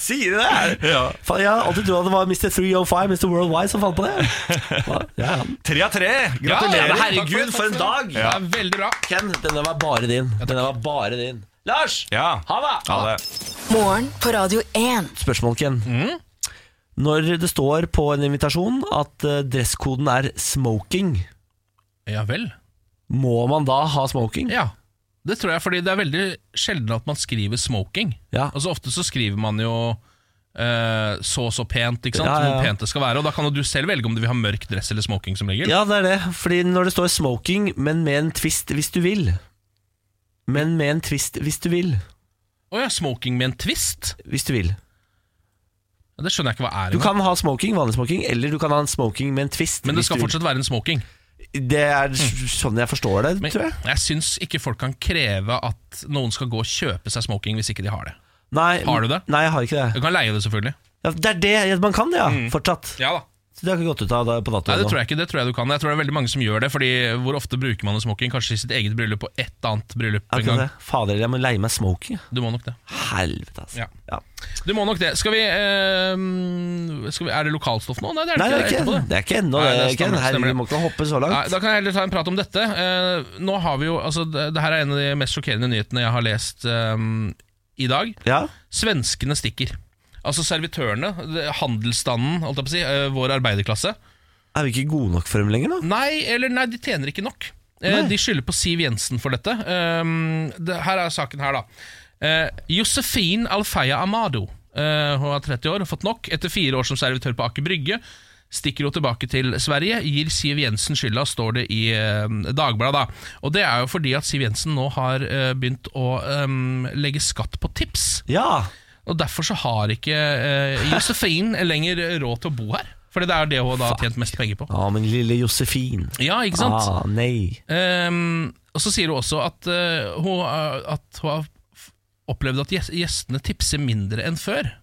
Sier de det? Ja. Faen, jeg har alltid trodd at det var oh Mr. 305, Mr. Worldwide som fant på det. Hva? Ja, ja. Tre av tre! ja, Gratulerer. ja, men takk herregud, det, for en takk dag. det. Ja, veldig bra. Ken, denne var bare din. Denne var bare din. Lars! Ja. Ha det! Ha det. Morgen på Radio 1. Spørsmål, Ken. Når det står på en invitasjon at eh, dresskoden er smoking, Ja vel. må man da ha smoking? Ja. Det tror jeg, fordi det er veldig sjelden at man skriver smoking. Ja. Altså Ofte så skriver man jo eh, så og så pent, ikke sant? Ja, ja, ja. hvor pent det skal være. Og da kan jo du selv velge om du vil ha mørk dress eller smoking, som regel. Ja, det er det. Fordi når det står smoking, men med en twist hvis du vil. Men med en twist hvis du vil. Å ja, smoking med en twist? Hvis du vil. Ja, Det skjønner jeg ikke hva Du er. engang. kan ha smoking, vanlig smoking, eller du kan ha en smoking med en twist. Men det hvis skal du vil. fortsatt være en smoking. Det er s- sånn jeg forstår det, Men tror jeg. jeg syns ikke folk kan kreve at noen skal gå og kjøpe seg smoking hvis ikke de har det. Nei, Har du det? Nei, jeg har ikke Du det. kan leie det, selvfølgelig. Ja, det er det ja, man kan, det, ja. Fortsatt. Ja da Så det har ikke gått ut av da- på Mm. Nei, datoen det tror jeg ikke. det tror jeg du kan Jeg tror det er veldig mange som gjør det. Fordi Hvor ofte bruker man en smoking? Kanskje i sitt eget bryllup og et annet bryllup en gang. det. Fader, jeg må leie meg smoking. ja. Du må nok det. Helvete, altså. Ja. Ja. Du må nok det. Skal vi, eh, skal vi Er det lokalstoff nå? Nei, det er det Nei, det er ikke. ikke, Etterpå, det er ikke ennå. Nei, det det er ikke stemmer, en- Herregud, stemmer det. vi må ikke hoppe så Nei, langt. da kan jeg heller ta en prat om dette. Eh, nå har vi jo, altså, det, det her er en av de mest sjokkerende nyhetene jeg har lest eh, i dag. Ja, Svenskene stikker. Altså servitørene, det- handelsstanden, holdt jeg på å si, eh, vår arbeiderklasse. Er vi ikke gode nok for dem lenger nå? Nei, eller nei, de tjener ikke nok. Eh, de skylder på Siv Jensen for dette. Eh, det, her er saken her, da. Eh, Josefin Alfeia Amado. Eh, hun er 30 år, fått nok. Etter fire år som servitør på Aker Brygge stikker hun tilbake til Sverige. Gir Siv Jensen skylda, står det i eh, Dagbladet. da. Og det er jo fordi at Siv Jensen nå har eh, begynt å eh, legge skatt på tips. Ja! Og derfor så har ikke eh, Josefin [laughs] lenger råd til å bo her. Fordi det er det hun da har tjent mest penger på. Ja, men lille Josefin. Ja, ikke sant? Ah, nei. Ehm, og så sier hun også at, eh, hun, eh, at hun har f- opplevd at gjes- gjestene tipser mindre enn før.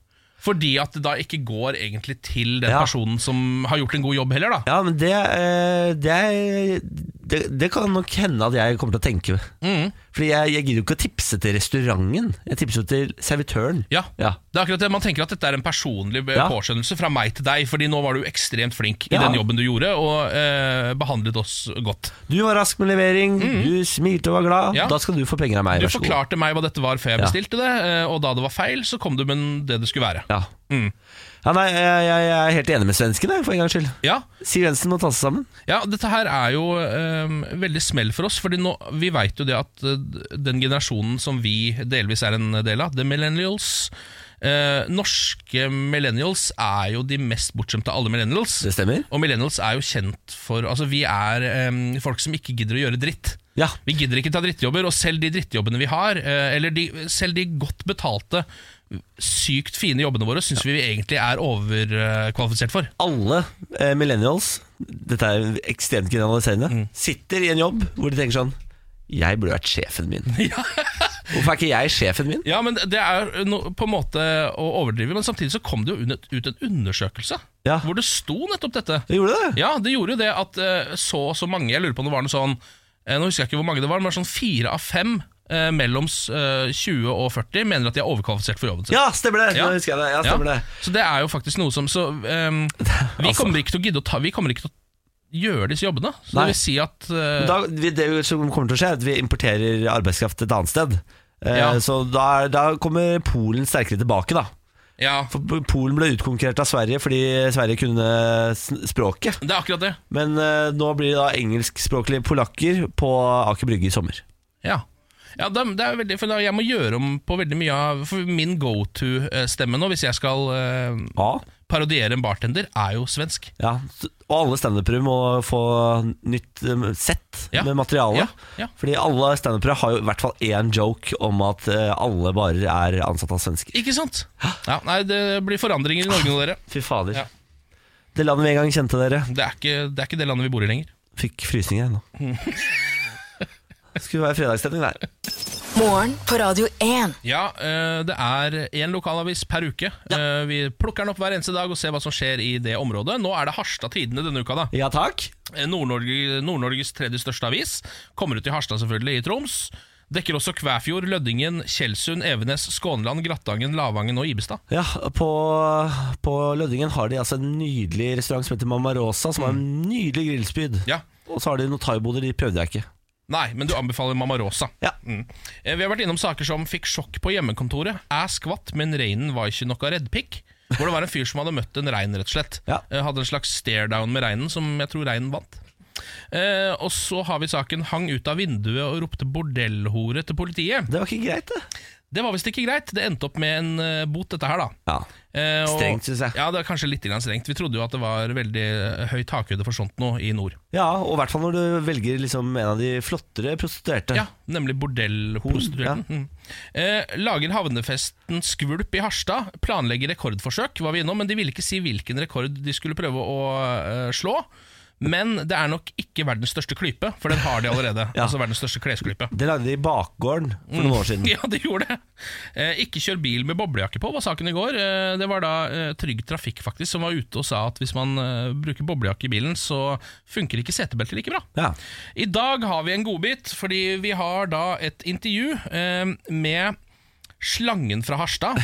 Fordi at det da ikke går egentlig til den Ja. personen som har gjort en god jobb heller, da. Ja, men det, eh, det, er- det Det kan nok hende at jeg kommer til å tenke. Mhm. Fordi jeg, jeg gidder jo ikke å tipse til restauranten. Jeg tipser jo til servitøren. Ja. Ja. Det er akkurat det, Man tenker at dette er en personlig eh, Ja. påskjønnelse fra meg til deg, Fordi nå var du ekstremt flink i Ja. den jobben du gjorde, og eh, behandlet oss godt. Du var rask med levering, du smilte og var glad. Mm. Ja. Da skal du få penger av meg. Du vær så god. forklarte meg hva dette var før jeg Ja. bestilte det, eh, og da det var feil, så kom du med det det skulle være. Ja. Mm. ja nei, jeg, jeg, jeg er helt enig med svenskene, for en gangs skyld. Ja, Siv Jensen må ta seg sammen. Ja, dette her er jo øhm, veldig smell for oss, Fordi nå, vi vet jo det at øh, den generasjonen som vi delvis er en del av, the millennials øh, Norske millennials er jo de mest bortskjemte av alle millennials. Det stemmer. Og millennials er jo kjent for Altså, vi er øhm, folk som ikke gidder å gjøre dritt. Ja. Vi gidder ikke ta drittjobber, og selv de drittjobbene vi har, øh, eller de, selv de godt betalte, sykt fine jobbene våre, syns vi egentlig er overkvalifisert for. Alle eh, millennials, dette er ekstremt generaliserende, Mm. sitter i en jobb hvor de tenker sånn Jeg burde vært sjefen [laughs] min. Hvorfor er ikke jeg sjefen min? Ja, men Det er no, på en måte å overdrive, men samtidig så kom det jo under- ut en undersøkelse Ja. hvor det sto nettopp dette. Jeg gjorde det. Ja, det gjorde jo det at eh, så og så mange Jeg lurer på om det var noe sånn eh, Nå husker jeg ikke hvor mange det var, men det var sånn fire av fem eh, mellom eh, 20 og 40 mener at de er overkvalifisert for jobben sin. Ja, stemmer det! Ja. Nå husker jeg det. Altså. Ja, stemmer Ja. det. ehm, [laughs] Så det er jo faktisk noe som Så eh, vi kommer ikke til å gidde å ta Vi kommer ikke til å gjøre disse jobbene. Så Nei. det vil si at eh, Men Da, vi- det som kommer til å skje, er at vi importerer arbeidskraft et annet sted. Eh, Ja. Så da, er- da kommer Polen sterkere tilbake, da. Ja, For P- Polen ble utkonkurrert av Sverige fordi Sverige kunne s- språket. det er akkurat det. Men eh, nå blir det da engelskspråklige polakker på Aker Brygge i sommer. Ja, ja da, det er veldig, for da, jeg må gjøre om på veldig mye av For min go to-stemme nå, hvis jeg skal eh, Ja. parodiere en bartender, er jo svensk. ja. s- Og alle standupere må få nytt eh, sett Ja. med materiale. Ja, ja. Fordi alle standupere har jo i hvert fall én joke om at eh, alle barer er ansatt av svensker. Ikke sant? Ja, nei, det blir forandringer i Norge nå, dere. Fy fader. Ja. Det landet vi en gang kjente dere, Det er ikke det, er ikke det landet vi bor i lenger. fikk frysninger [laughs] ennå. Mm. Skulle være fredagsstemning der. Morgen på Radio 1. Ja, eh, det er én lokalavis per uke. Eh, Vi plukker den opp hver eneste dag og ser hva som skjer i det området. Nå er det Harstad Tidende denne uka, da. Ja takk. Eh, Nord-Norge- Nord-Norges tredje største avis. Kommer ut i Harstad, selvfølgelig, i Troms. Dekker også Kvæfjord, Lødingen, Tjeldsund, Evenes, Skånland, Grattangen, Lavangen og Ibestad. Ja, på, på Lødingen har de altså en nydelig restaurant som heter Mamma Rosa, som har en nydelig grillspyd. Ja. Og så har de noen thaiboder, de prøvde jeg ikke. Nei, men du anbefaler Mamma Rosa. Ja. Mm. Eh, Vi har vært innom saker som fikk sjokk på hjemmekontoret. Jeg skvatt, men reinen var ikke noe reddpikk. Hvor det var en fyr som hadde møtt en rein, rett og slett. Ja. Eh, Hadde en slags stare down med reinen, som jeg tror reinen vant. Eh, og så har vi saken 'hang ut av vinduet og ropte bordellhore' til politiet. Det var ikke greit, det. Det var visst ikke greit. Det endte opp med en eh, bot, dette her, da. Ja. Eh, og- Strengt, synes jeg. Ja, det er kanskje litt grann strengt. Vi trodde jo at det var veldig eh, høy takhøyde for sånt noe i nord. ja, og i hvert fall når du velger liksom en av de flottere prostituerte. Ja, nemlig bordellprostituerten. Mm. Eh, lager havnefesten Skvulp i Harstad. Planlegger rekordforsøk, var vi innom, men de ville ikke si hvilken rekord de skulle prøve å eh, slå. Men det er nok ikke verdens største klype, for den har de allerede. Ja. Altså verdens største klesklype. Det lagde de i bakgården for noen år siden. Mm. [laughs] Ja, de gjorde det. Eh, ikke kjør bil med boblejakke på, var saken i går. Eh, det var da eh, Trygg Trafikk faktisk som var ute og sa at hvis man eh, bruker boblejakke i bilen, så funker ikke setebeltet like bra. Ja. I dag har vi en godbit, fordi vi har da et intervju eh, med Slangen fra [laughs] Harstad,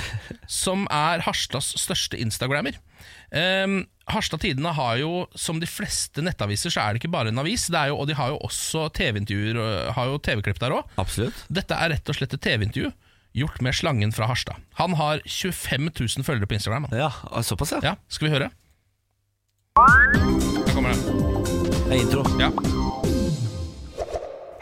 som er Harstads største instagrammer. Eh, Harstad Tidende har jo, som de fleste nettaviser, så er det ikke bare en avis. Det er jo, og de har jo også TV-intervjuer, eh, har jo TV-klipp der òg. Absolutt. Dette er rett og slett et TV-intervju gjort med Slangen fra Harstad. Han har 25 000 følgere på Instagram. Han. Ja, Såpass, ja. Ja, skal vi høre? Her kommer den. Det er intro. Ja.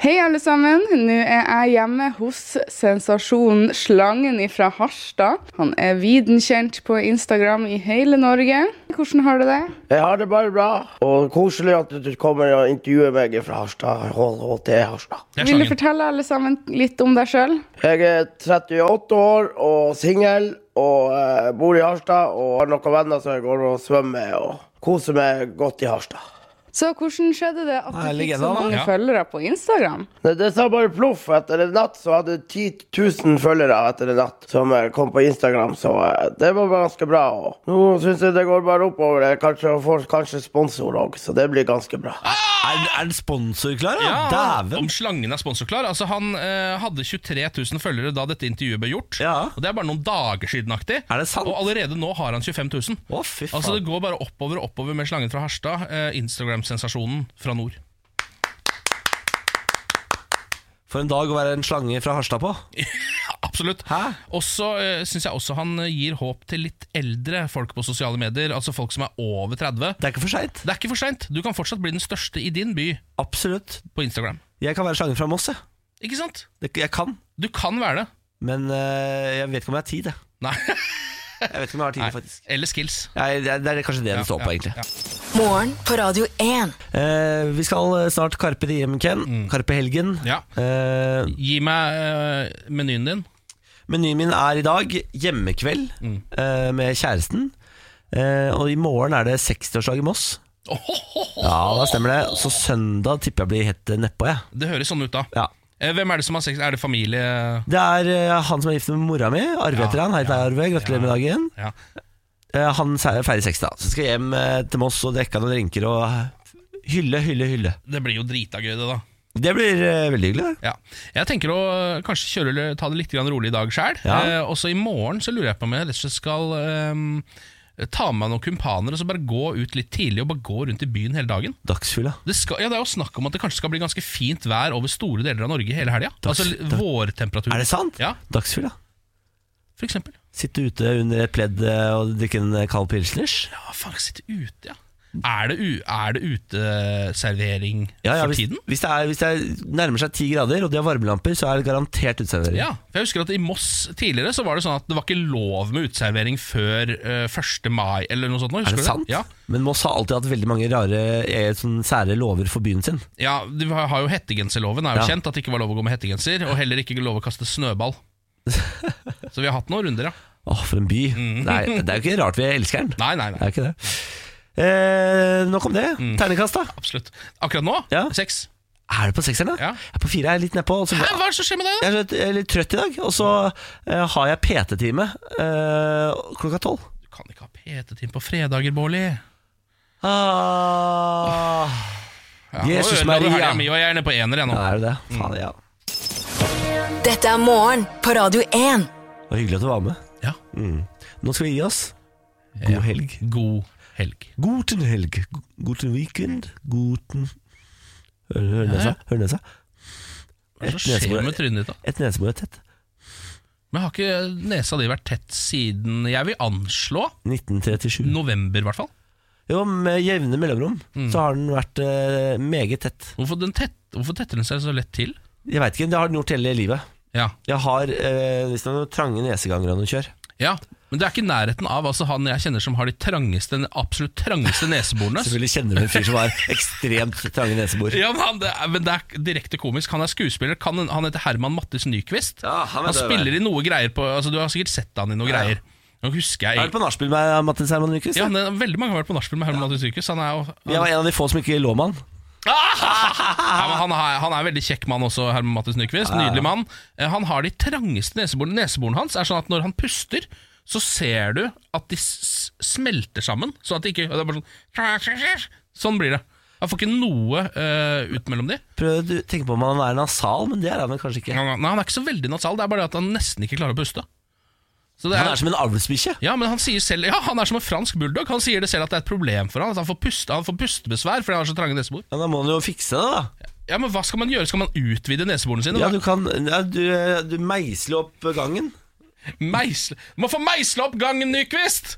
Hei, alle sammen. Nå er jeg hjemme hos sensasjonen Slangen fra Harstad. Han er viden kjent på Instagram i hele Norge. Hvordan har du det? Jeg har det bare bra, og koselig at du kommer og intervjuer meg fra Harstad. HHT Harstad. Det er Vil du Slangen. fortelle alle sammen litt om deg sjøl? Jeg er 38 år og singel og eh, bor i Harstad og har noen venner som jeg går og svømmer med og koser meg godt i Harstad. Så hvordan skjedde det at Nei, du fikk legende, så da. mange Ja. følgere på Instagram? Det, det sa bare ploff. Etter en natt så hadde 10 000 følgere etter en natt som eh, kom på Instagram, så eh, det var ganske bra. Og nå syns jeg det går bare oppover. Jeg kanskje får kanskje sponsor òg, så det blir ganske bra. Er, er den sponsor klar, da? Ja, Dæven! om slangen er sponsorklar. Altså, han eh, hadde 23 000 følgere da dette intervjuet ble gjort. Ja. Og Det er bare noen dager siden aktig. Er det sant? Og allerede nå har han 25 000. Å, fy faen. altså, det går bare oppover og oppover med slangen fra Harstad. Eh, Instagram-sensasjonen fra nord. For en dag å være en slange fra Harstad på. Absolutt. Hæ? Og så eh, syns jeg også han eh, gir håp til litt eldre folk på sosiale medier. Altså folk som er over 30. Det er ikke for seint. Det er ikke for seint. Du kan fortsatt bli den største i din by Absolutt. på Instagram. Jeg kan være slange fra Moss, jeg. Ikke sant? Det- Jeg kan. Du kan være det. Men eh, jeg vet ikke om jeg har tid, jeg. Nei. Jeg vet ikke om jeg har tid, faktisk. Eller skills. Nei, det, er, det er kanskje det det står på, ja, egentlig. ja. Morgen på Radio 1. Eh, vi skal eh, snart Karpe Diem, Ken. Karpe Helgen. Mm. Ja. Eh, Gi meg eh, menyen din. menyen min er i dag hjemmekveld eh, med kjæresten. Eh, og i morgen er det 60-årslag i Moss. Ja, da stemmer det. Så søndag tipper jeg blir helt eh, nedpå, jeg. Det høres sånn ut, da. Ja. Eh, Hvem er det som har sex? Er det familie? Det er eh, han som er gift med mora mi. Arve heter han. Hei til deg, Arve. Gratulerer med dagen. Ja. Eh, Han se- feirer 60, da. Så skal jeg hjem eh, til Moss og drikke noen drinker og hylle, hylle, hylle. Det blir jo drita gøy, det, da. Det blir eh, veldig hyggelig, det. Ja. Jeg tenker å eh, kanskje kjøre, ta det litt grann rolig i dag sjøl. Ja. Eh, også i morgen så lurer jeg på om jeg rett og slett skal eh, eh, ta med meg noen kumpaner og så bare gå ut litt tidlig og bare gå rundt i byen hele dagen. Dagsfylla. Det, skal, ja, det er jo snakk om at det kanskje skal bli ganske fint vær over store deler av Norge hele helga. Altså l- vårtemperaturen. Er det sant? Ja, Dagsfylla. for eksempel. Sitte ute under et pledd eh, og drikke en eh, kald pilsners. Ja, faen, sitte ute, ja. Er det, u- er det uteservering Ja, ja, for hvis, tiden? hvis, det er, hvis det er, nærmer seg ti grader, og de har varmelamper, så er det garantert uteservering. Ja, for jeg husker at I Moss tidligere så var det sånn at det var ikke lov med uteservering før eh, 1. mai. eller noe sånt. Nå, Er husker det du sant? Ja. Men Moss har alltid hatt veldig mange rare, eh, sånn sære lover for byen sin. ja, de har har jo Hettegenserloven er jo Ja. kjent, at det ikke var lov å gå med hettegenser. Og heller ikke lov å kaste [laughs] snøball. så vi har hatt noen runder, ja. Åh, for en by. Nei, det er jo ikke rart vi elsker den. Mhm. Nei, nei, Det nei, er ikke det. Eh, nok om det. Mm. Terningkast, da. absolutt. Akkurat nå Ja. seks. Er du på sekseren, da? Ja. Jeg er på fire, jeg er litt nedpå. og så- Hæ, hva er det som skjer med deg, da? Jeg er litt- jeg er litt trøtt i dag, og så eh, har jeg PT-time eh, klokka tolv. Du kan ikke ha PT-team på fredager, Bårli. Ah. Ja, Jesus nå ødela du Mm. Maria. helga mi, og jeg er nede på ener, jeg nå. Er det det? Faen, ja. Dette er morgen på Radio 1. Det var hyggelig at du var med. Ja. Mm. Nå skal vi gi oss. God helg. God helg. Guten helg. G- Guten weekend. Guten Hør, hør nesa. Hør nesa. Hva er det Et som skjer nesebor- med trynet ditt, da? Et nesebor er tett. Men Har ikke nesa di vært tett siden Jeg vil anslå 1937. november, i hvert fall. Jo, med jevne mellomrom så har den vært eh, meget tett. Mm. Hvorfor, den tett, hvorfor tetter den seg så lett til? Jeg veit ikke, det har den gjort hele livet. Ja. Jeg har eh, liksom noen trange neseganger og noen kjør. ja, Men det er ikke i nærheten av altså, han jeg kjenner som har de trangeste, absolutt [laughs] trangeste neseborene. Selvfølgelig kjenner du en fyr som har ekstremt trange nesebor. [laughs] Ja, men, han, det er, men det er direkte komisk. Han er skuespiller. Kan, en- han heter Herman Mattis Nyquist. Ja, han han vet det, spiller i noe greier på altså, Du har sikkert sett han i noe Ja, ja. greier. Nå husker Er du jeg på nachspiel med Mattis Herman Nyquist? da? ja, han er- Veldig mange har vært på nachspiel med Herman Mattis Nyquist. Han er jo han, Jeg var en av de få som ikke lå med han. Ja, men han, er, han er en veldig kjekk mann også, Herman Mattis Nyquist. Nydelig mann. Eh, Han har de trangeste neseborene. Neseborene hans er sånn at når han puster, så ser du at de s- smelter sammen. Sånn at det ikke det er bare sånn, sånn blir det. Han får ikke noe eh, ut mellom de. Prøv å tenke på om han er nasal, men det er han vel kanskje ikke. Han, nei, han er ikke så veldig nasal, det er bare det at han nesten ikke klarer å puste. Så det Han er, er som en avlsbikkje. ja, men han sier selv Ja, han er som en fransk bulldog. Han sier det selv at det er et problem for han At han får, puste, han får pustebesvær fordi han har så trange nesebor. Ja, da må han jo fikse det, da. Ja, Men hva skal man gjøre? Skal man utvide neseborene sine? Ja, du kan ja, du, du meisler opp gangen. Meisle. Du må få meisle opp gangen, Nyquist!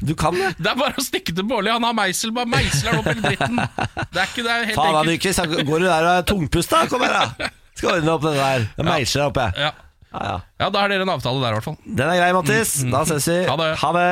Du kan det. Det er bare å stikke til Bårli. Han har meisel, bare meisler han opp hele dritten. [laughs] Det er ikke det er helt Faen, han enkelt. Nyquist, han går du der og er tungpust, da? Kom her, da. Skal ordne opp det der. Jeg meisler deg opp, jeg. Ja. Ja, ja. ja, da har dere en avtale der, i hvert fall. Den er grei, Mattis. Da ses vi. Mm. Ha det. Ha det.